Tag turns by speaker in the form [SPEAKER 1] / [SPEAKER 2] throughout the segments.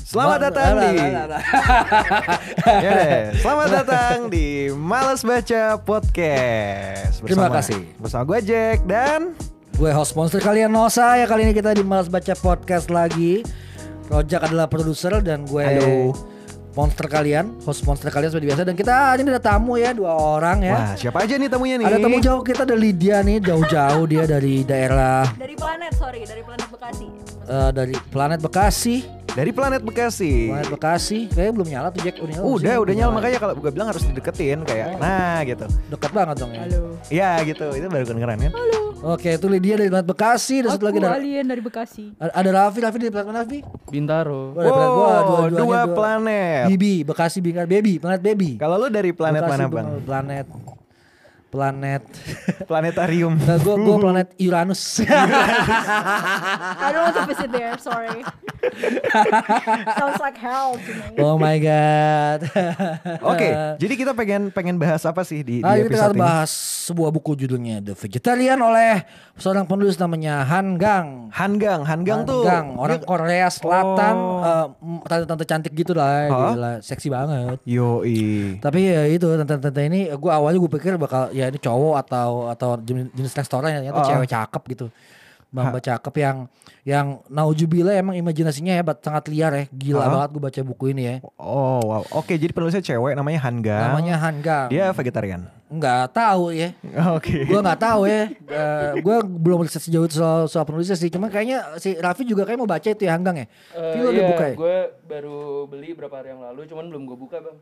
[SPEAKER 1] Selamat
[SPEAKER 2] Ma-
[SPEAKER 1] datang
[SPEAKER 2] la- la-
[SPEAKER 1] di
[SPEAKER 2] la- la- la.
[SPEAKER 1] Ya deh, Selamat datang di Malas Baca Podcast.
[SPEAKER 2] Terima kasih.
[SPEAKER 1] Bersama gue Jack dan
[SPEAKER 2] Gue host monster kalian Nosa ya kali ini kita di Malas Baca Podcast lagi. Rojak adalah produser dan gue
[SPEAKER 1] Halo.
[SPEAKER 2] monster kalian, host monster kalian seperti biasa dan kita ini ada tamu ya dua orang ya.
[SPEAKER 1] Wah, siapa aja nih tamunya nih?
[SPEAKER 2] Ada tamu jauh kita ada Lydia nih jauh-jauh dia dari daerah
[SPEAKER 3] dari planet sorry dari planet Bekasi
[SPEAKER 2] eh, dari planet Bekasi.
[SPEAKER 1] dari planet Bekasi.
[SPEAKER 2] Planet Bekasi kayaknya belum nyala tuh Jack udah nyala.
[SPEAKER 1] Udah,
[SPEAKER 2] belum
[SPEAKER 1] udah
[SPEAKER 2] sih?
[SPEAKER 1] nyala makanya kalau gue bilang harus dideketin kayak nah gitu.
[SPEAKER 2] Dekat banget dong ya.
[SPEAKER 1] Ya gitu, itu baru kedengeran kan?
[SPEAKER 2] Oke, itu Lydia dari planet Bekasi dan satu lagi dari
[SPEAKER 3] alien dari Bekasi
[SPEAKER 2] ada Raffi, Raffi dari planet mana, Raffi?
[SPEAKER 4] Bintaro.
[SPEAKER 2] Gua dari planet gua, Iya.
[SPEAKER 1] Wow,
[SPEAKER 2] dua-duanya
[SPEAKER 1] Oh, dua
[SPEAKER 2] dua-
[SPEAKER 1] planet.
[SPEAKER 2] Bibi, Bekasi Bingkai, Baby, planet Baby.
[SPEAKER 1] Kalau lu dari planet
[SPEAKER 2] Bekasi,
[SPEAKER 1] mana,
[SPEAKER 2] Bung-
[SPEAKER 1] Bang?
[SPEAKER 2] Planet planet
[SPEAKER 1] Planetarium.
[SPEAKER 2] Nah, gua gua planet Uranus.
[SPEAKER 3] I don't want to visit there sorry sounds like hell to me
[SPEAKER 2] oh my god.
[SPEAKER 1] Oke, jadi kita pengen pengen bahas apa sih di, di
[SPEAKER 2] Hari Eh. Ah, Nah, ini kita
[SPEAKER 1] episode
[SPEAKER 2] akan
[SPEAKER 1] ini?
[SPEAKER 2] bahas sebuah buku judulnya The Vegetarian oleh seorang penulis namanya Han Gang.
[SPEAKER 1] Hanggang, Hanggang tuh.
[SPEAKER 2] Gang, orang Korea Selatan,
[SPEAKER 1] Oh.
[SPEAKER 2] eh, m- tante-tante cantik gitu lah,
[SPEAKER 1] Hah?
[SPEAKER 2] gila, seksi banget.
[SPEAKER 1] Yoi.
[SPEAKER 2] Tapi ya itu tante-tante ini gue awalnya gue pikir bakal ya ini cowok atau atau jenis, jenis restoran yang ternyata
[SPEAKER 1] Oh.
[SPEAKER 2] cewek cakep gitu. Mbak cakep yang yang naujubila emang imajinasinya hebat sangat liar ya. Gila
[SPEAKER 1] Oh.
[SPEAKER 2] banget gue baca buku ini ya.
[SPEAKER 1] Oh wow. Oke jadi penulisnya cewek namanya Hanga.
[SPEAKER 2] Namanya Hanggang.
[SPEAKER 1] Dia vegetarian.
[SPEAKER 2] nggak tahu ya.
[SPEAKER 1] Oke.
[SPEAKER 2] Gue nggak tahu ya. Eh, gue belum riset sejauh itu soal, soal penulisnya sih. Cuma kayaknya si Raffi juga kayak mau baca itu ya Hanggang ya. Tapi lu
[SPEAKER 4] iya,
[SPEAKER 2] udah buka ya?
[SPEAKER 4] Gue Eh, baru beli berapa hari yang lalu, cuman belum gue buka bang.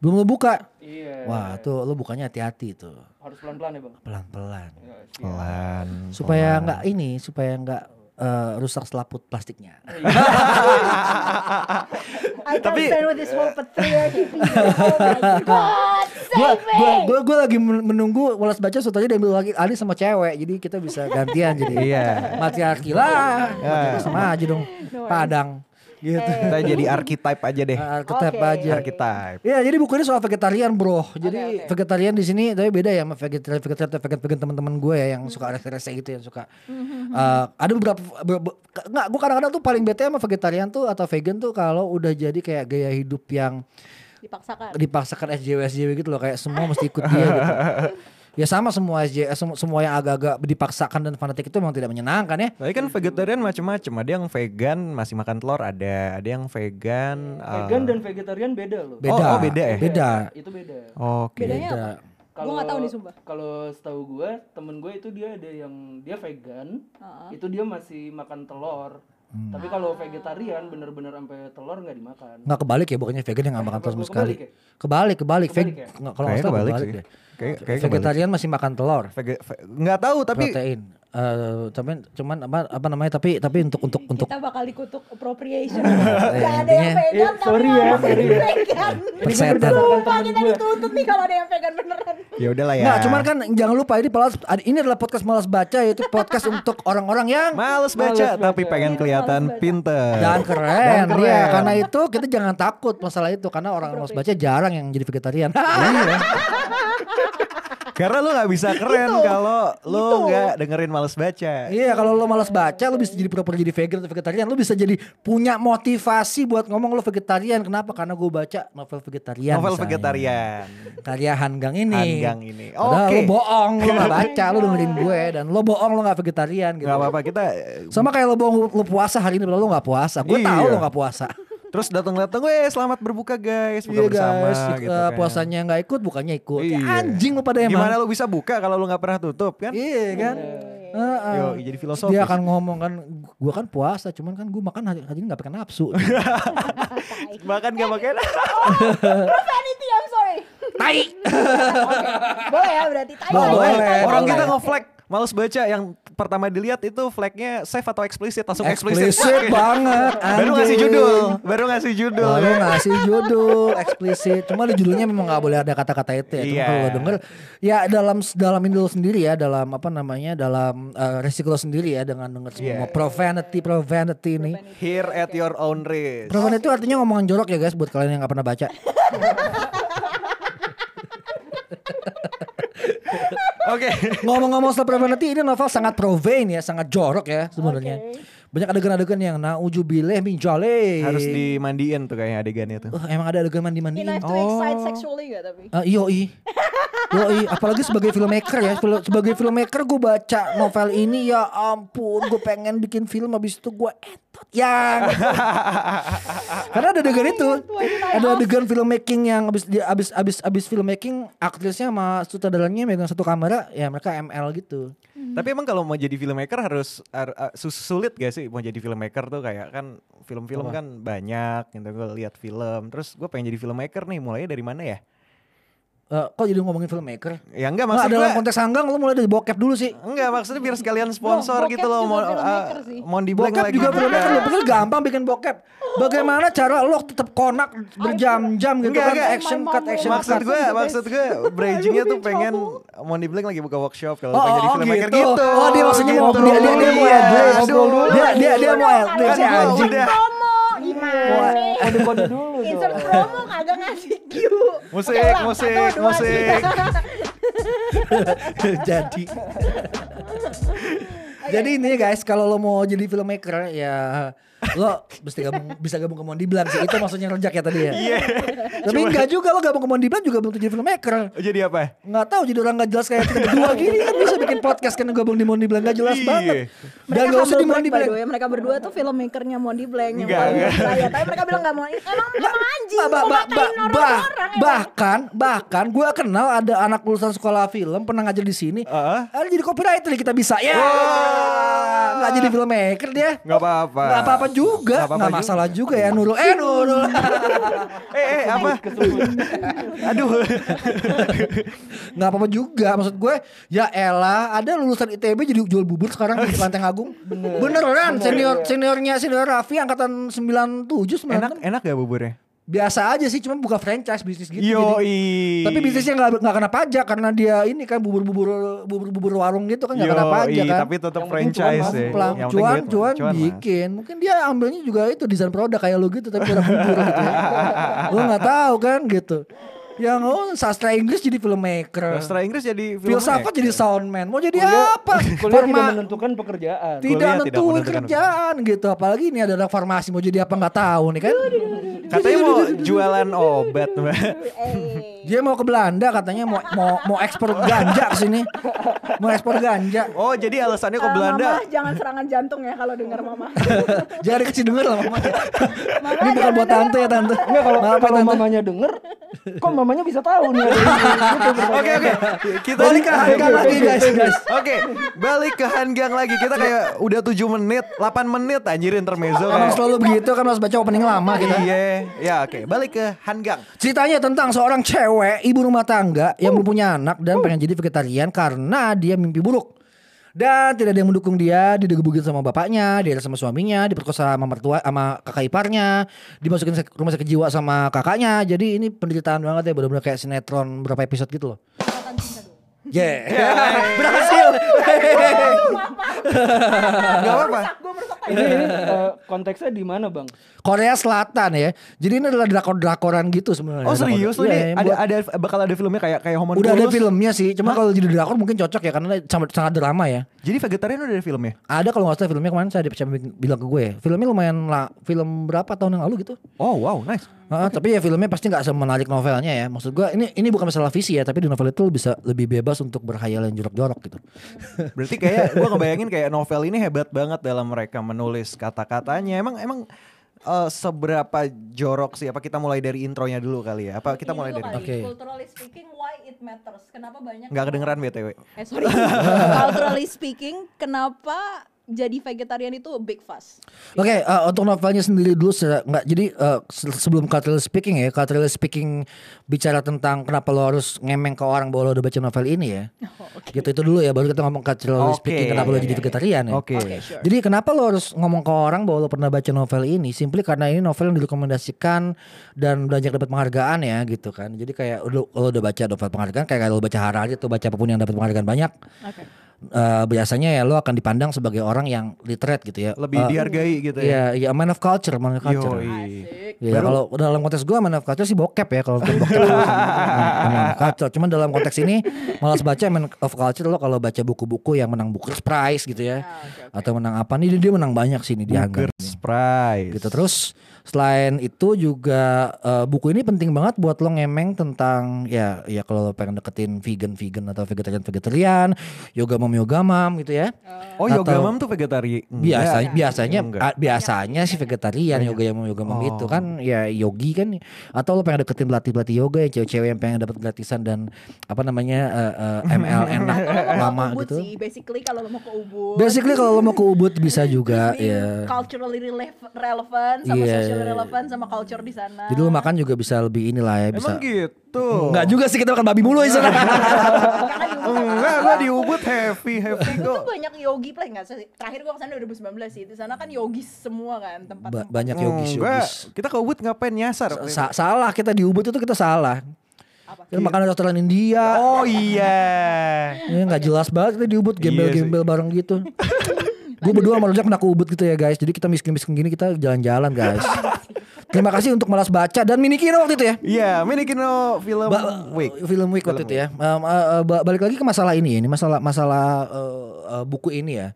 [SPEAKER 2] Belum lu buka.
[SPEAKER 4] Iya.
[SPEAKER 2] Wah tuh lu bukannya hati-hati tuh.
[SPEAKER 4] Harus pelan-pelan ya bang.
[SPEAKER 2] Pelan-pelan.
[SPEAKER 4] Ya, siap.
[SPEAKER 1] Pelan.
[SPEAKER 2] supaya nggak ini supaya nggak eh, rusak selaput plastiknya.
[SPEAKER 3] I can't
[SPEAKER 1] Tapi-
[SPEAKER 3] stand with this whole patriarchy people. oh my god
[SPEAKER 2] Gua
[SPEAKER 3] save me
[SPEAKER 2] gua gua, gua lagi men- menunggu Walas baca sutanya diambil lagi Ali sama cewek jadi kita bisa gantian jadi.
[SPEAKER 1] Iya.
[SPEAKER 2] Matriarki lah. matriarki sama aja dong.
[SPEAKER 3] worries.
[SPEAKER 2] Padang gitu.
[SPEAKER 1] Kita jadi archetype aja deh.
[SPEAKER 2] Ah, Ketep
[SPEAKER 3] Oke.
[SPEAKER 2] aja.
[SPEAKER 1] Archetype.
[SPEAKER 2] Iya, jadi buku ini soal vegetarian, Bro. Jadi
[SPEAKER 3] oke.
[SPEAKER 2] vegetarian di sini tapi beda ya sama vegetarian vegetarian atau vegan vegan teman-teman gue ya yang suka rese-rese gitu yang suka. Eh, ada beberapa be- be- enggak gue kadang-kadang tuh paling bete sama vegetarian tuh atau vegan tuh kalau udah jadi kayak gaya hidup yang
[SPEAKER 3] dipaksakan
[SPEAKER 2] dipaksakan SJW SJW gitu loh kayak semua mesti ikut dia gitu. Ya sama semua SJW semua, semua yang agak-agak dipaksakan dan fanatik itu memang tidak menyenangkan ya.
[SPEAKER 1] Tapi kan vegetarian macam-macam. Ada yang vegan masih makan telur ada. Ada yang vegan. eh,
[SPEAKER 4] Vegan dan vegetarian beda loh.
[SPEAKER 2] Beda.
[SPEAKER 1] oh, beda ya?
[SPEAKER 2] Ah. Beda.
[SPEAKER 4] Itu beda.
[SPEAKER 1] Oke.
[SPEAKER 3] bedanya apa
[SPEAKER 2] Beda.
[SPEAKER 3] Gua nggak tahu nih, sumpah.
[SPEAKER 4] Kalau setahu gue, temen gue itu dia ada yang dia vegan, itu dia masih makan telur.
[SPEAKER 2] Hmm.
[SPEAKER 4] Tapi kalau vegetarian bener-bener sampai telur nggak dimakan.
[SPEAKER 2] nggak kebalik ya pokoknya vegan yang nggak makan
[SPEAKER 4] apa
[SPEAKER 2] telur sama
[SPEAKER 4] gua
[SPEAKER 2] sekali
[SPEAKER 4] kebalik
[SPEAKER 2] kebalik kebalik,
[SPEAKER 4] Kebalik
[SPEAKER 2] Veg-
[SPEAKER 4] ya?
[SPEAKER 2] nggak, kalau nggak
[SPEAKER 1] Kayaknya
[SPEAKER 2] salah
[SPEAKER 1] kebalik
[SPEAKER 2] kebalik
[SPEAKER 1] sih.
[SPEAKER 2] deh.
[SPEAKER 1] Kayak kayak kebalik.
[SPEAKER 2] vegetarian masih makan telur
[SPEAKER 1] Vege- ve- Nggak tahu tapi
[SPEAKER 2] protein Eh, tapi cuman apa apa namanya tapi tapi untuk untuk
[SPEAKER 1] Iya.
[SPEAKER 2] untuk
[SPEAKER 3] kita bakal dikutuk appropriation gak ada yang
[SPEAKER 2] Iya, intinya-
[SPEAKER 3] vegan
[SPEAKER 4] Eh,
[SPEAKER 3] tapi
[SPEAKER 4] sorry ya,
[SPEAKER 3] orang
[SPEAKER 4] sorry
[SPEAKER 3] jadi
[SPEAKER 4] ya.
[SPEAKER 3] vegan
[SPEAKER 2] persetan
[SPEAKER 3] Sumpah
[SPEAKER 4] temen
[SPEAKER 3] kita
[SPEAKER 4] gue.
[SPEAKER 3] dituntut nih kalau ada yang vegan beneran
[SPEAKER 1] ya udahlah ya.
[SPEAKER 2] Nah, cuman kan jangan lupa ini pelas- ini adalah podcast malas baca yaitu podcast untuk orang-orang yang
[SPEAKER 1] males baca
[SPEAKER 4] Males baca.
[SPEAKER 1] tapi
[SPEAKER 2] Iya,
[SPEAKER 1] pengen kelihatan
[SPEAKER 3] baca.
[SPEAKER 1] pinter.
[SPEAKER 2] dan
[SPEAKER 1] Dan
[SPEAKER 2] keren,
[SPEAKER 1] keren.
[SPEAKER 2] Iya, karena itu kita jangan takut masalah itu karena orang malas baca jarang yang jadi vegetarian.
[SPEAKER 1] Iya. Karena lu nggak bisa keren
[SPEAKER 2] Gitu.
[SPEAKER 1] kalau lu nggak dengerin males baca.
[SPEAKER 2] Iya kalau lo malas baca lo bisa jadi pura-pura jadi vegan atau vegetarian Lo bisa jadi punya motivasi buat ngomong lo vegetarian Kenapa? Karena gue baca novel vegetarian
[SPEAKER 1] Novel
[SPEAKER 2] misalnya.
[SPEAKER 1] vegetarian.
[SPEAKER 2] Karya Hanggang ini
[SPEAKER 1] Hanggang ini.
[SPEAKER 2] Padahal
[SPEAKER 1] Oke.
[SPEAKER 2] lo bohong lo gak baca lo dengerin gue Dan lo bohong lo gak vegetarian gitu
[SPEAKER 1] Gak apa-apa kita eh,
[SPEAKER 2] Sama kayak lo bohong lo puasa hari ini padahal lo gak puasa Gue
[SPEAKER 1] Iya.
[SPEAKER 2] tahu lo gak puasa
[SPEAKER 1] Terus datang-datang, "Weh, selamat berbuka guys, buka
[SPEAKER 2] Iya
[SPEAKER 1] bersama."
[SPEAKER 2] guys
[SPEAKER 1] gitu
[SPEAKER 2] eh,
[SPEAKER 1] kan.
[SPEAKER 2] Puasanya gak ikut bukannya ikut Ya
[SPEAKER 1] Iya.
[SPEAKER 2] Anjing lo pada emang
[SPEAKER 1] Gimana lu bisa buka kalau lu nggak pernah tutup kan?
[SPEAKER 2] Iya kan Heeh.
[SPEAKER 1] Yo, iya, jadi filosofis.
[SPEAKER 2] Dia akan ngomong kan Gue kan puasa Cuman kan gue makan hari, hari ini gak pakai nafsu
[SPEAKER 1] Makan gak makan.
[SPEAKER 3] profanity I'm sorry
[SPEAKER 2] Tai
[SPEAKER 3] Oke, boleh ya berarti tai
[SPEAKER 2] Boleh.
[SPEAKER 3] tai, tai, tai, tai.
[SPEAKER 1] Orang
[SPEAKER 2] boleh.
[SPEAKER 1] kita nge-flag Males baca yang pertama dilihat itu flagnya safe atau eksplisit langsung eksplisit.
[SPEAKER 2] Eksplisit banget
[SPEAKER 1] Baru ngasih
[SPEAKER 2] anjing.
[SPEAKER 1] judul, baru ngasih judul.
[SPEAKER 2] Baru ngasih judul eksplisit. Cuma di judulnya memang nggak boleh ada kata-kata itu ya. Cuma
[SPEAKER 1] Iya.
[SPEAKER 2] kalau lo denger ya dalam dalam ini lo sendiri ya dalam apa namanya dalam eh, resiko lo sendiri ya dengan denger semua
[SPEAKER 1] Iya.
[SPEAKER 2] profanity profanity ini.
[SPEAKER 1] Here at your own risk.
[SPEAKER 2] Profanity itu artinya ngomongan jorok ya guys buat kalian yang nggak pernah baca.
[SPEAKER 1] Oke.
[SPEAKER 2] Ngomong-ngomong soal profanity ini novel sangat profane ya, sangat jorok ya sebenarnya. Banyak adegan-adegan yang naujubileh minjale.
[SPEAKER 1] Harus dimandiin tuh kayaknya adegannya tuh.
[SPEAKER 2] Eh, emang ada adegan mandi-mandiin.
[SPEAKER 3] Enough to excite
[SPEAKER 1] Oh.
[SPEAKER 3] sexually gak tapi?
[SPEAKER 2] Eh, iyo i. Yo i, Iya, apalagi sebagai filmmaker ya, Fil- sebagai filmmaker gue baca novel ini ya ampun, gue pengen bikin film habis itu gue entot yang. Karena ada adegan itu, ada adegan filmmaking yang habis dia habis habis habis filmmaking aktrisnya sama sutradaranya megang satu kamera ya mereka ML gitu.
[SPEAKER 1] Tapi emang kalau mau jadi filmmaker harus har- uh, sus- sulit gak sih mau jadi filmmaker tuh kayak kan film-film
[SPEAKER 2] Apa?
[SPEAKER 1] kan banyak gitu gue lihat film terus gue pengen jadi filmmaker nih mulainya dari mana ya?
[SPEAKER 2] Eh, kok jadi ngomongin filmmaker?
[SPEAKER 1] Ya enggak
[SPEAKER 2] Nggak,
[SPEAKER 1] maksud
[SPEAKER 2] dalam
[SPEAKER 1] gua-
[SPEAKER 2] konteks sanggang lu mulai dari bokep dulu sih.
[SPEAKER 1] enggak maksudnya biar sekalian sponsor
[SPEAKER 3] Bokep
[SPEAKER 1] gitu loh
[SPEAKER 3] juga
[SPEAKER 1] mau
[SPEAKER 3] filmmaker sih.
[SPEAKER 1] mau di blank
[SPEAKER 2] Bokep
[SPEAKER 1] lagi
[SPEAKER 2] juga filmmaker
[SPEAKER 3] Iya.
[SPEAKER 2] lu pikir gampang bikin bokep. Bagaimana cara lo tetap konak berjam-jam gitu
[SPEAKER 1] Enggak,
[SPEAKER 2] kan
[SPEAKER 1] enggak.
[SPEAKER 2] action
[SPEAKER 3] My
[SPEAKER 2] cut
[SPEAKER 3] mama
[SPEAKER 2] action
[SPEAKER 1] maksud
[SPEAKER 2] cut.
[SPEAKER 1] gue
[SPEAKER 3] Maksud gue-
[SPEAKER 1] maksud gue brandingnya tuh
[SPEAKER 3] in
[SPEAKER 1] pengen Mondi Blank lagi buka workshop kalau pengen jadi filmmaker gitu.
[SPEAKER 2] Oh, dia maksudnya mau dia dia dia mau
[SPEAKER 1] Iya,
[SPEAKER 2] address.
[SPEAKER 1] aduh.
[SPEAKER 2] Dia dia dia
[SPEAKER 1] iya.
[SPEAKER 2] mau
[SPEAKER 3] Kan
[SPEAKER 2] address si
[SPEAKER 1] gua
[SPEAKER 2] anjing.
[SPEAKER 1] udah-
[SPEAKER 3] Promo gimana?
[SPEAKER 4] Kode-kode dulu
[SPEAKER 3] Insert
[SPEAKER 4] dong.
[SPEAKER 3] promo kagak ngasih cue.
[SPEAKER 1] Musik,
[SPEAKER 3] Oke, ulang.
[SPEAKER 1] musik,
[SPEAKER 3] Satu, dua,
[SPEAKER 1] musik.
[SPEAKER 3] tiga.
[SPEAKER 2] jadi jadi ini ya, guys kalau lo mau jadi filmmaker ya lo bisa gabung bisa gabung ke Mondi Blanc sih itu maksudnya rejak ya tadi ya
[SPEAKER 3] Iya.
[SPEAKER 2] tapi enggak juga lo gabung ke Mondi Blanc juga belum tentu jadi filmmaker
[SPEAKER 1] Oh, Jadi apa?
[SPEAKER 2] nggak tahu jadi orang nggak jelas kayak kita berdua gini kan bisa bikin podcast karena gabung di Mondi Blanc nggak jelas
[SPEAKER 1] Iya.
[SPEAKER 2] banget dan
[SPEAKER 3] Mereka
[SPEAKER 2] gak usah
[SPEAKER 3] humble
[SPEAKER 2] di Mondi
[SPEAKER 3] brag, by
[SPEAKER 2] Blanc
[SPEAKER 3] the way. Mereka berdua tuh filmmakernya Mondi Blank yang
[SPEAKER 1] Enggak,
[SPEAKER 3] paling
[SPEAKER 1] enggak.
[SPEAKER 3] percaya. Tapi mereka bilang gak mau. Emang emang anjing.
[SPEAKER 2] Ba- ba-
[SPEAKER 3] mau
[SPEAKER 2] ba-
[SPEAKER 3] ngatain
[SPEAKER 2] ba- bah-
[SPEAKER 3] orang-orang. ya. emang.
[SPEAKER 2] bahkan bahkan gue kenal ada anak lulusan sekolah film pernah ngajar di sini
[SPEAKER 1] Heeh.
[SPEAKER 2] ada jadi copywriter nih kita bisa ya
[SPEAKER 1] Ah. Wah.
[SPEAKER 2] nggak jadi filmmaker dia
[SPEAKER 1] Nggak apa-apa.
[SPEAKER 2] nggak apa-apa juga
[SPEAKER 1] Nggak
[SPEAKER 2] nggak
[SPEAKER 1] apa-apa
[SPEAKER 2] masalah juga ya Nurul eh Nurul
[SPEAKER 1] Eh, eh apa? Aduh.
[SPEAKER 2] nggak apa-apa juga maksud gue ya Ella ada lulusan ITB jadi jual bubur sekarang di Lanteng Agung beneran senior seniornya senior Raffi angkatan 97
[SPEAKER 1] iya. enak
[SPEAKER 2] 96
[SPEAKER 1] enak gak buburnya?
[SPEAKER 2] biasa aja sih cuma buka franchise bisnis gitu jadi-
[SPEAKER 1] Yoi.
[SPEAKER 2] Tapi bisnisnya nggak nggak kena pajak karena dia ini kan bubur-bubur bubur-bubur warung gitu kan nggak kena
[SPEAKER 1] Yoi,
[SPEAKER 2] pajak kan.
[SPEAKER 1] Tapi tetap
[SPEAKER 4] Yang penting
[SPEAKER 1] franchise
[SPEAKER 4] cuan
[SPEAKER 1] ya.
[SPEAKER 2] Pelang,
[SPEAKER 1] Yang penting
[SPEAKER 2] cuan,
[SPEAKER 1] duit,
[SPEAKER 2] cuan,
[SPEAKER 1] cuan mah.
[SPEAKER 2] bikin. Mungkin dia ambilnya juga itu desain produk kayak lo gitu tapi orang bubur gitu. Ya. Lo nggak tahu kan gitu. Yang oh, sastra Inggris jadi filmmaker.
[SPEAKER 1] Sastra Inggris jadi ya?
[SPEAKER 2] Filsafat jadi soundman. Mau jadi
[SPEAKER 4] Kuliah-
[SPEAKER 2] apa?
[SPEAKER 4] Kuliah tidak
[SPEAKER 2] Forma-
[SPEAKER 4] menentukan pekerjaan.
[SPEAKER 2] tidak
[SPEAKER 1] Kuliah tidak
[SPEAKER 2] nentuin
[SPEAKER 1] menentukan.
[SPEAKER 2] kerjaan gitu. Apalagi ini ada anak farmasi mau jadi apa nggak tahu nih kan.
[SPEAKER 1] Katanya mau jualan obat. Mbak.
[SPEAKER 3] Eh.
[SPEAKER 2] Dia mau ke Belanda katanya mau mau mau ekspor ganja ke sini. Mau ekspor ganja.
[SPEAKER 1] oh jadi alasannya ke
[SPEAKER 3] Eh,
[SPEAKER 1] Belanda.
[SPEAKER 3] Mama jangan serangan jantung ya kalau dengar mama.
[SPEAKER 2] Jangan dikasih denger lah mama. Ini bukan
[SPEAKER 3] jangan
[SPEAKER 2] buat
[SPEAKER 3] denger,
[SPEAKER 2] tante ya tante.
[SPEAKER 4] Enggak kalau
[SPEAKER 2] Maaf ya
[SPEAKER 4] kalau
[SPEAKER 2] tante.
[SPEAKER 4] mamanya denger, kok mamanya bisa tahu nih? ada ini? Itu pertanyaan.
[SPEAKER 1] Oke oke. Kita
[SPEAKER 2] Balik ke
[SPEAKER 1] Oke,
[SPEAKER 2] Hanggang
[SPEAKER 1] oke,
[SPEAKER 2] lagi
[SPEAKER 1] oke.
[SPEAKER 2] guys guys.
[SPEAKER 1] Oke, balik ke Hanggang lagi. Kita kayak udah 7 menit, 8 menit anjir intermezzo
[SPEAKER 2] Emang
[SPEAKER 1] kayak.
[SPEAKER 2] selalu begitu kan harus baca opening lama gitu. kita.
[SPEAKER 1] Iya, ya oke. Balik ke Hanggang.
[SPEAKER 2] Ceritanya tentang seorang cewek ibu rumah tangga yang belum punya anak dan pengen jadi vegetarian karena dia mimpi buruk. Dan tidak ada yang mendukung dia, digebukin sama bapaknya, dia sama suaminya, diperkosa sama mertua sama kakak iparnya, dimasukin sek- rumah sakit jiwa sama kakaknya. Jadi ini penderitaan banget ya, benar-benar kayak sinetron berapa episode gitu loh. Yeah. Eh, Berhasil.
[SPEAKER 1] Enggak apa-apa.
[SPEAKER 3] Gue merusak
[SPEAKER 4] Ini ini, eh, konteksnya di mana bang?
[SPEAKER 2] Korea Selatan ya. Jadi ini adalah drakor-drakoran gitu sebenarnya.
[SPEAKER 1] Oh serius lu
[SPEAKER 2] Drakor-
[SPEAKER 1] nih?
[SPEAKER 2] Iya,
[SPEAKER 1] Ada
[SPEAKER 2] buat-
[SPEAKER 1] ada bakal ada filmnya kayak kayak Homunculus.
[SPEAKER 2] udah ada filmnya sih. Cuma kalau jadi drakor mungkin cocok ya karena sangat, sangat drama ya.
[SPEAKER 1] Jadi vegetarian udah ada filmnya.
[SPEAKER 2] Ada kalau nggak salah filmnya kemarin saya dipercaya bilang ke gue. Filmnya lumayan lah, film berapa tahun yang lalu gitu.
[SPEAKER 1] Oh wow, nice.
[SPEAKER 2] Heeh, tapi ya filmnya pasti nggak semenarik novelnya ya. Maksud gue ini ini bukan masalah visi ya, tapi di novel itu bisa lebih bebas untuk berkhayal yang jorok-jorok gitu.
[SPEAKER 1] Iya. Berarti kayak gua ngebayangin kayak novel ini hebat banget dalam mereka menulis kata-katanya. Emang emang eh, seberapa jorok sih? Apa kita mulai dari intronya dulu kali ya? Apa kita
[SPEAKER 5] Ini
[SPEAKER 1] mulai
[SPEAKER 5] dulu
[SPEAKER 1] dari
[SPEAKER 5] kali,
[SPEAKER 2] Oke.
[SPEAKER 5] Culturally speaking, why it matters? Kenapa banyak?
[SPEAKER 1] nggak kedengeran btw?
[SPEAKER 5] Eh sorry. culturally speaking, kenapa jadi vegetarian itu big fuss?
[SPEAKER 2] Oke, eh, untuk novelnya sendiri dulu se- nggak jadi eh, se- sebelum cultural speaking ya, cultural speaking bicara tentang kenapa lo harus ngemeng ke orang bahwa lo udah baca novel ini ya. Gitu itu dulu ya, baru kita ngomong cultural
[SPEAKER 1] Oh, Oke,
[SPEAKER 2] speaking kenapa
[SPEAKER 1] iya,
[SPEAKER 2] lo jadi vegetarian ya.
[SPEAKER 1] Oke.
[SPEAKER 5] sure.
[SPEAKER 2] Jadi kenapa lo harus ngomong ke orang bahwa lo pernah baca novel ini? Simply karena ini novel yang direkomendasikan dan banyak dapat penghargaan ya gitu kan. Jadi kayak lo, lo udah baca novel penghargaan kayak lo baca Harari atau baca apapun yang dapat penghargaan banyak.
[SPEAKER 5] Oke.
[SPEAKER 2] eh, biasanya ya lo akan dipandang sebagai orang yang literate gitu ya.
[SPEAKER 1] Lebih
[SPEAKER 2] Eh,
[SPEAKER 1] dihargai gitu ya.
[SPEAKER 2] Iya, iya man of culture, man of culture.
[SPEAKER 1] Yoi.
[SPEAKER 5] Asik.
[SPEAKER 2] Ya kalau dalam konteks gue man of culture sih bokep ya kalau untuk bokep. Man of culture. Cuman dalam konteks ini malas baca man of culture lo kalau baca buku-buku yang menang Booker's Prize gitu ya.
[SPEAKER 5] Ah, oke, oke.
[SPEAKER 2] Atau menang apa nih dia dia menang banyak sih nih di Hunger.
[SPEAKER 1] Booker's Prize.
[SPEAKER 2] Gitu terus selain itu juga eh, buku ini penting banget buat lo ngemeng tentang ya ya kalau lo pengen deketin vegan vegan atau vegetarian vegetarian, yoga mom yoga mom gitu ya.
[SPEAKER 1] Oh, yoga
[SPEAKER 2] atau-
[SPEAKER 1] mam tuh vegetarian.
[SPEAKER 2] Biasa
[SPEAKER 1] Enggak. Iya,
[SPEAKER 2] biasanya
[SPEAKER 1] Enggak. Iya.
[SPEAKER 2] ah, biasanya sih vegetarian yoga yang yoga mom itu
[SPEAKER 1] Oh.
[SPEAKER 2] kan ya yogi kan atau lo pengen deketin pelatih pelatih yoga ya cewek-cewek yang pengen dapat gratisan dan apa namanya eh, eh, ML enak
[SPEAKER 5] Nah, Kalau lo
[SPEAKER 2] lama
[SPEAKER 5] mau ke Ubud
[SPEAKER 2] gitu.
[SPEAKER 5] sih, basically kalau lo mau ke Ubud.
[SPEAKER 2] Basically kalau lo mau ke Ubud bisa juga
[SPEAKER 5] Terus being
[SPEAKER 2] ya.
[SPEAKER 5] culturally rele- relevant sama
[SPEAKER 2] Iya.
[SPEAKER 5] social relevant sama culture di sana.
[SPEAKER 2] Jadi lo makan juga bisa lebih inilah ya bisa.
[SPEAKER 1] Emang gitu.
[SPEAKER 2] Enggak juga sih kita makan babi mulu di sana.
[SPEAKER 5] Karena di Ubud kan-
[SPEAKER 1] Enggak, gua di Ubud happy, happy
[SPEAKER 5] Itu
[SPEAKER 1] kok.
[SPEAKER 5] banyak yogi play enggak sih? Terakhir gua kesana 2019 sih. Di sana kan yogis semua kan tempat.
[SPEAKER 2] Ba- banyak yogis
[SPEAKER 1] Enggak,
[SPEAKER 2] yogis.
[SPEAKER 1] kita ke Ubud ngapain nyasar? Iya.
[SPEAKER 2] Sa- salah kita di Ubud itu kita salah.
[SPEAKER 5] Apa?
[SPEAKER 2] Kita makanan restoran India.
[SPEAKER 1] Oh iya.
[SPEAKER 2] Ya nggak jelas banget kita di Ubud gembel-gembel bareng gitu. Gue berdua sama Rojak pernah ke Ubud gitu ya guys. Jadi kita miskin-miskin gini kita jalan-jalan guys. Terima kasih untuk malas baca dan mini kino waktu itu ya.
[SPEAKER 1] Iya, Minikino film
[SPEAKER 2] Ba-
[SPEAKER 1] week.
[SPEAKER 2] Film week waktu itu ya. Um, uh, uh, ba- balik lagi ke masalah ini, ini masalah masalah uh, uh, buku ini ya.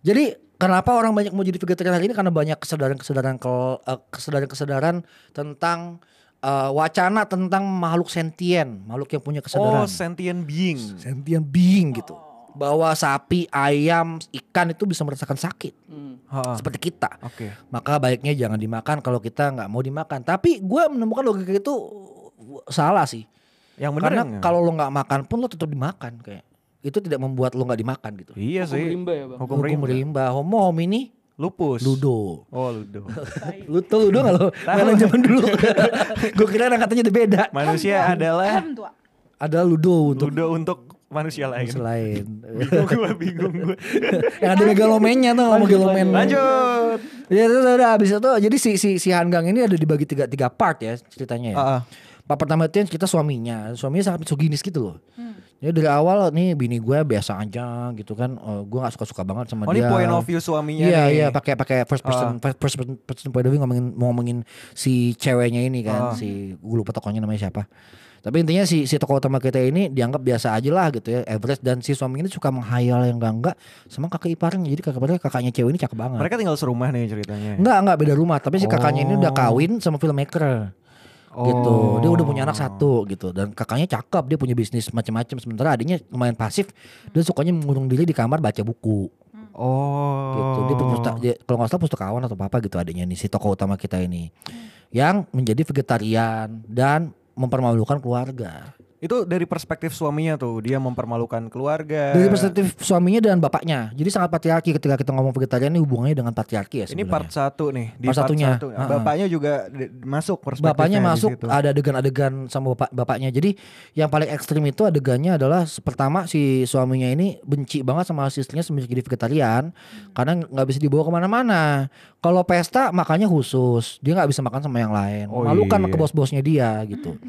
[SPEAKER 2] Jadi kenapa orang banyak mau jadi vegetarian hari ini karena banyak kesadaran-kesadaran kel- uh, kesadaran-kesadaran tentang uh, wacana tentang makhluk sentien, makhluk yang punya kesadaran
[SPEAKER 1] Oh, sentient being.
[SPEAKER 2] sentient being gitu. Bahwa sapi, ayam, ikan itu bisa merasakan sakit
[SPEAKER 4] Hmm.
[SPEAKER 1] Ha,
[SPEAKER 2] seperti kita.
[SPEAKER 1] Oke.
[SPEAKER 2] Maka baiknya jangan dimakan kalau kita nggak mau dimakan. Tapi gue menemukan logika itu salah sih.
[SPEAKER 1] Yang bener
[SPEAKER 2] Karena
[SPEAKER 1] nggak?
[SPEAKER 2] kalau lo nggak makan pun lo tetap dimakan kayak. Itu tidak membuat lo nggak dimakan gitu.
[SPEAKER 1] Iya
[SPEAKER 4] Hukum
[SPEAKER 1] sih.
[SPEAKER 4] rimba ya bang.
[SPEAKER 1] Hukum
[SPEAKER 2] Hukum
[SPEAKER 1] rimba.
[SPEAKER 2] rimba, homo homini,
[SPEAKER 1] Lupus.
[SPEAKER 2] ludo.
[SPEAKER 1] Oh, ludo.
[SPEAKER 2] Lu tuh ludo nggak lo? Mainan zaman dulu. gue kira katanya udah beda.
[SPEAKER 1] Manusia adalah
[SPEAKER 5] Ahem, tua.
[SPEAKER 2] Ada ludo untuk
[SPEAKER 1] ludo untuk manusia lain.
[SPEAKER 2] selain
[SPEAKER 1] Bingung gue, bingung gue.
[SPEAKER 2] yang ada megalomennya tuh nggak megalomen
[SPEAKER 1] Lanjut.
[SPEAKER 2] Ya terus udah habis itu jadi si si si Hanggang ini ada dibagi tiga tiga part ya ceritanya ya.
[SPEAKER 1] Ah, ah.
[SPEAKER 2] Part pertama itu yang cerita suaminya, suaminya sangat misoginis gitu loh.
[SPEAKER 1] Hmm.
[SPEAKER 2] Jadi dari awal nih bini gue biasa aja gitu kan, Eh, gue gak suka suka banget sama
[SPEAKER 1] Oh, ini
[SPEAKER 2] dia.
[SPEAKER 1] point of view suaminya nih.
[SPEAKER 2] Iya
[SPEAKER 1] Ah.
[SPEAKER 2] iya pakai pakai first person first person, person point of view ngomongin ngomongin si ceweknya ini
[SPEAKER 1] Ah.
[SPEAKER 2] kan si gue lupa tokonya namanya siapa. Tapi intinya si si tokoh utama kita ini dianggap biasa aja lah gitu ya Everest dan si suami ini suka menghayal yang enggak enggak sama kakak iparnya jadi kakak iparnya kakaknya cewek ini cakep banget.
[SPEAKER 1] Mereka tinggal serumah nih ceritanya.
[SPEAKER 2] Enggak, enggak beda rumah, tapi si kakaknya ini udah
[SPEAKER 1] Oh.
[SPEAKER 2] kawin sama filmmaker. Gitu.
[SPEAKER 1] Oh.
[SPEAKER 2] Dia udah punya anak satu gitu dan kakaknya cakep, dia punya bisnis macam-macam sementara adiknya lumayan pasif dan sukanya mengurung diri di kamar baca buku
[SPEAKER 1] Oh.
[SPEAKER 2] gitu. Dia pemusta- dia- kalau nggak salah pustakawan atau apa gitu adiknya ini si tokoh utama kita ini. Yang menjadi vegetarian dan mempermalukan keluarga.
[SPEAKER 1] Itu dari perspektif suaminya tuh, dia mempermalukan keluarga.
[SPEAKER 2] Dari perspektif suaminya dan bapaknya. Jadi sangat patriarki ketika kita ngomong vegetarian ini hubungannya dengan patriarki ya
[SPEAKER 1] ini
[SPEAKER 2] sebenarnya.
[SPEAKER 1] part satu nih, di
[SPEAKER 2] Part satunya.
[SPEAKER 1] satu. Nah,
[SPEAKER 2] Ha-ha.
[SPEAKER 1] Bapaknya juga di- masuk perspektifnya
[SPEAKER 2] bapaknya
[SPEAKER 1] di
[SPEAKER 2] masuk ah,
[SPEAKER 1] situ.
[SPEAKER 2] ada adegan-adegan sama bapak bapaknya jadi yang paling ekstrim itu adegannya adalah se- pertama si suaminya ini benci banget sama si istrinya semenjak jadi vegetarian karena nggak bisa dibawa kemana-mana kalau pesta makannya khusus dia nggak bisa makan sama yang lain
[SPEAKER 1] Oh,
[SPEAKER 2] malukan
[SPEAKER 1] iya.
[SPEAKER 2] ke bos-bosnya dia gitu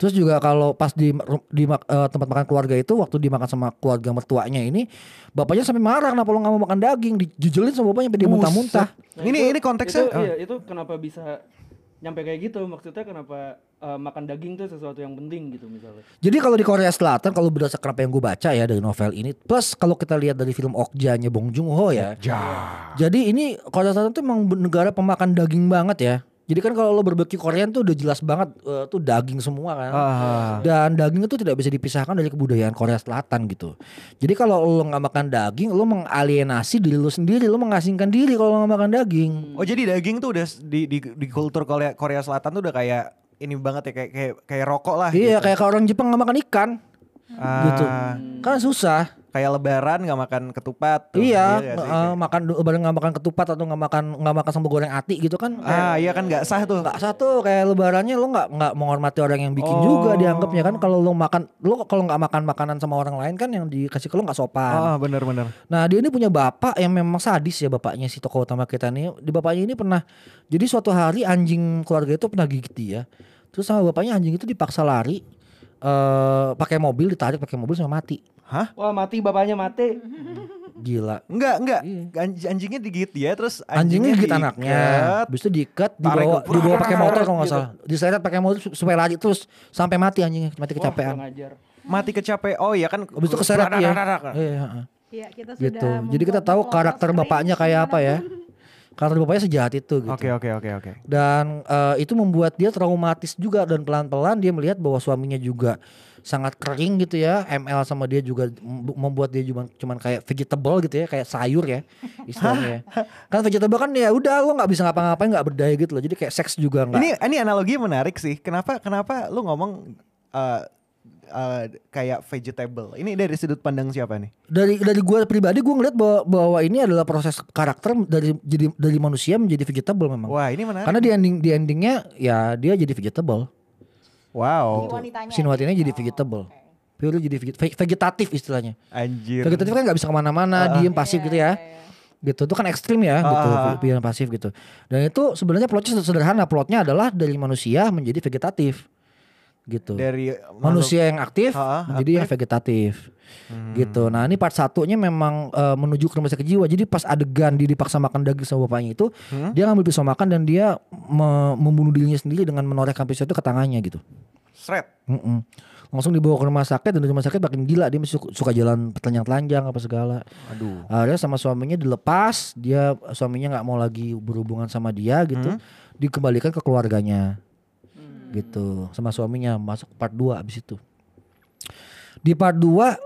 [SPEAKER 2] terus juga kalau pas di, ru- di mak- eh, tempat makan keluarga itu waktu dimakan sama keluarga mertuanya ini bapaknya sampai marah kenapa lo nggak mau makan daging dijujelin sama bapaknya sampai dia
[SPEAKER 1] Buset.
[SPEAKER 2] muntah-muntah
[SPEAKER 4] Nah,
[SPEAKER 1] ini
[SPEAKER 4] itu-
[SPEAKER 1] ini konteksnya
[SPEAKER 4] itu,
[SPEAKER 1] ah,
[SPEAKER 4] iya, itu kenapa bisa nyampe kayak gitu maksudnya kenapa eh, makan daging tuh sesuatu yang penting gitu misalnya
[SPEAKER 2] Jadi kalau di Korea Selatan kalau berdasarkan apa yang gue baca ya dari novel ini plus kalau kita lihat dari film Okja-nya Bong Joon-ho ya. Jadi ini Korea Selatan tuh emang negara pemakan daging banget ya. Jadi kan kalau lo berbeki Korean tuh udah jelas banget eh, tuh daging semua kan.
[SPEAKER 1] ah.
[SPEAKER 2] Dan daging itu tidak bisa dipisahkan dari kebudayaan Korea Selatan gitu. Jadi kalau lo nggak makan daging, lo mengalienasi diri lo sendiri, lo mengasingkan diri kalau lo nggak makan daging.
[SPEAKER 1] Oh jadi daging tuh udah s- di di, di kultur Korea, Korea Selatan tuh udah kayak ini banget ya kayak kayak, kayak rokok lah.
[SPEAKER 2] Iya,
[SPEAKER 1] gitu.
[SPEAKER 2] kayak kalau orang Jepang nggak makan ikan,
[SPEAKER 1] Ah,
[SPEAKER 2] gitu.
[SPEAKER 4] Hmm.
[SPEAKER 2] kan susah.
[SPEAKER 1] Kayak Lebaran nggak makan ketupat. tuh.
[SPEAKER 2] Iya,
[SPEAKER 1] nggak sih?
[SPEAKER 2] eh, makan do- bareng nggak makan ketupat atau nggak makan nggak makan sambal goreng ati gitu kan?
[SPEAKER 1] Kayak- ah iya kan nggak sah tuh.
[SPEAKER 2] Nggak satu kayak lebarannya lo nggak nggak menghormati orang yang bikin
[SPEAKER 1] Oh.
[SPEAKER 2] juga dianggapnya kan kalau lo makan lo kalau nggak makan makanan sama orang lain kan yang dikasih ke lo nggak
[SPEAKER 1] Ah
[SPEAKER 2] sopan.
[SPEAKER 1] bener-bener.
[SPEAKER 2] Nah dia ini punya bapak yang memang sadis ya bapaknya si tokoh utama kita nih. Di bapaknya ini pernah jadi suatu hari anjing keluarga itu pernah gigit dia. Terus sama bapaknya anjing itu dipaksa lari eh pakai mobil ditarik pakai mobil sampai mati.
[SPEAKER 1] Hah?
[SPEAKER 4] Wah mati bapaknya mati.
[SPEAKER 2] Gila.
[SPEAKER 1] Enggak, enggak.
[SPEAKER 2] Iya.
[SPEAKER 1] Anj- anjingnya digigit dia terus
[SPEAKER 2] Anjingnya gigit
[SPEAKER 1] diikat.
[SPEAKER 2] anaknya. Habis itu diikat,
[SPEAKER 1] tarik
[SPEAKER 2] dibawa
[SPEAKER 1] ke-
[SPEAKER 2] dibawa pakai motor kalau nggak
[SPEAKER 1] gitu.
[SPEAKER 2] salah. Diseret pakai motor su- supaya lari terus sampai mati anjingnya, mati
[SPEAKER 4] Wah,
[SPEAKER 2] kecapean.
[SPEAKER 4] kurang ajar.
[SPEAKER 1] Mati kecape. Oh iya kan.
[SPEAKER 2] Habis itu keseret dia.
[SPEAKER 1] Iya.
[SPEAKER 2] Iya, heeh.
[SPEAKER 5] Iya, kita sudah
[SPEAKER 2] gitu. Jadi kita
[SPEAKER 5] membuat
[SPEAKER 2] tahu
[SPEAKER 5] polos
[SPEAKER 2] karakter
[SPEAKER 5] kering
[SPEAKER 2] bapaknya kayak apa ya. Karakter bapaknya sejahat itu gitu.
[SPEAKER 1] Oke, oke, oke, oke.
[SPEAKER 2] Dan eh, itu membuat dia traumatis juga dan pelan-pelan dia melihat bahwa suaminya juga sangat kering gitu ya. ML sama dia juga mem- membuat dia cuman cuman kayak vegetable gitu ya, kayak sayur ya istilahnya. kan vegetable kan ya udah lo nggak bisa ngapa-ngapain, nggak berdaya gitu loh. Jadi kayak seks juga nggak.
[SPEAKER 1] Ini ini analogi menarik sih. Kenapa kenapa lu ngomong eh, eh, kayak vegetable? Ini dari sudut pandang siapa nih?
[SPEAKER 2] dari dari gue pribadi gue ngeliat bahwa, bahwa ini adalah proses karakter dari jadi dari manusia menjadi vegetable memang.
[SPEAKER 1] Wah, ini menarik.
[SPEAKER 2] Karena di ending di endingnya ya dia jadi vegetable.
[SPEAKER 5] Si
[SPEAKER 2] gitu.
[SPEAKER 1] Wow.
[SPEAKER 5] wanitanya.
[SPEAKER 2] Sinwatinya jadi
[SPEAKER 5] Oh,
[SPEAKER 2] vegetable.
[SPEAKER 5] oke.
[SPEAKER 2] Purely jadi veget- ve- vegetatif istilahnya.
[SPEAKER 1] Anjir.
[SPEAKER 2] Vegetatif kan nggak bisa kemana-mana, diem pasif
[SPEAKER 5] Iya,
[SPEAKER 2] gitu ya.
[SPEAKER 5] iya, iya.
[SPEAKER 2] Gitu itu kan ekstrim ya, gitu
[SPEAKER 1] Ah.
[SPEAKER 2] pilihan pasif gitu. Dan itu sebenarnya plotnya sederhana. Plotnya adalah dari manusia menjadi vegetatif, gitu.
[SPEAKER 1] Dari
[SPEAKER 2] manusia yang aktif
[SPEAKER 1] Ah, ah,
[SPEAKER 2] menjadi yang vegetatif
[SPEAKER 1] Hmm.
[SPEAKER 2] gitu nah ini part satunya memang eh, menuju ke rumah sakit jiwa jadi pas adegan dia dipaksa makan daging sama bapaknya itu
[SPEAKER 1] Hmm?
[SPEAKER 2] dia ngambil pisau makan dan dia me- membunuh dirinya sendiri dengan menorehkan pisau itu ke tangannya gitu
[SPEAKER 1] Sret.
[SPEAKER 2] Mm-mm. langsung dibawa ke rumah sakit dan di rumah sakit makin gila dia masih suka, suka jalan telanjang-telanjang apa segala
[SPEAKER 1] Aduh.
[SPEAKER 2] akhirnya sama suaminya dilepas dia suaminya nggak mau lagi berhubungan sama dia
[SPEAKER 1] Hmm.
[SPEAKER 2] gitu dikembalikan ke keluarganya
[SPEAKER 4] Hmm.
[SPEAKER 2] gitu sama suaminya masuk part 2 abis itu di part 2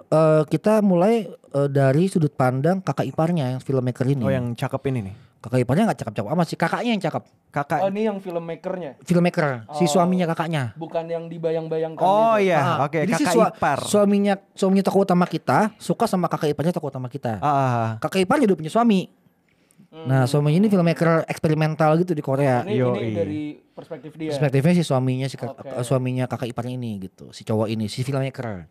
[SPEAKER 2] kita mulai eh, dari sudut pandang kakak iparnya yang filmmaker ini
[SPEAKER 1] Oh, yang cakep ini nih.
[SPEAKER 2] kakak iparnya nggak cakep-cakep amat sih kakaknya yang cakep
[SPEAKER 4] Oh
[SPEAKER 1] Kakak.
[SPEAKER 4] ini yang filmmakernya,
[SPEAKER 2] filmmaker si
[SPEAKER 4] Oh.
[SPEAKER 2] suaminya kakaknya
[SPEAKER 4] bukan gitu. yang dibayang-bayangkan.
[SPEAKER 1] Oh,
[SPEAKER 4] itu.
[SPEAKER 1] iya,
[SPEAKER 2] Ah,
[SPEAKER 1] oke,
[SPEAKER 2] jadi si
[SPEAKER 1] kakak
[SPEAKER 2] sua-
[SPEAKER 1] ipar.
[SPEAKER 2] suaminya suaminya tokoh utama kita suka sama kakak iparnya tokoh utama kita
[SPEAKER 1] Ah, ah, ah.
[SPEAKER 2] kakak iparnya udah punya suami
[SPEAKER 4] Hmm.
[SPEAKER 2] nah suaminya ini filmmaker eksperimental gitu di Korea
[SPEAKER 4] ini, ini
[SPEAKER 1] Yoi.
[SPEAKER 4] dari perspektif dia.
[SPEAKER 2] perspektifnya si suaminya si kak-
[SPEAKER 4] Oke.
[SPEAKER 2] eh, suaminya kakak iparnya ini gitu si cowok ini si filmmaker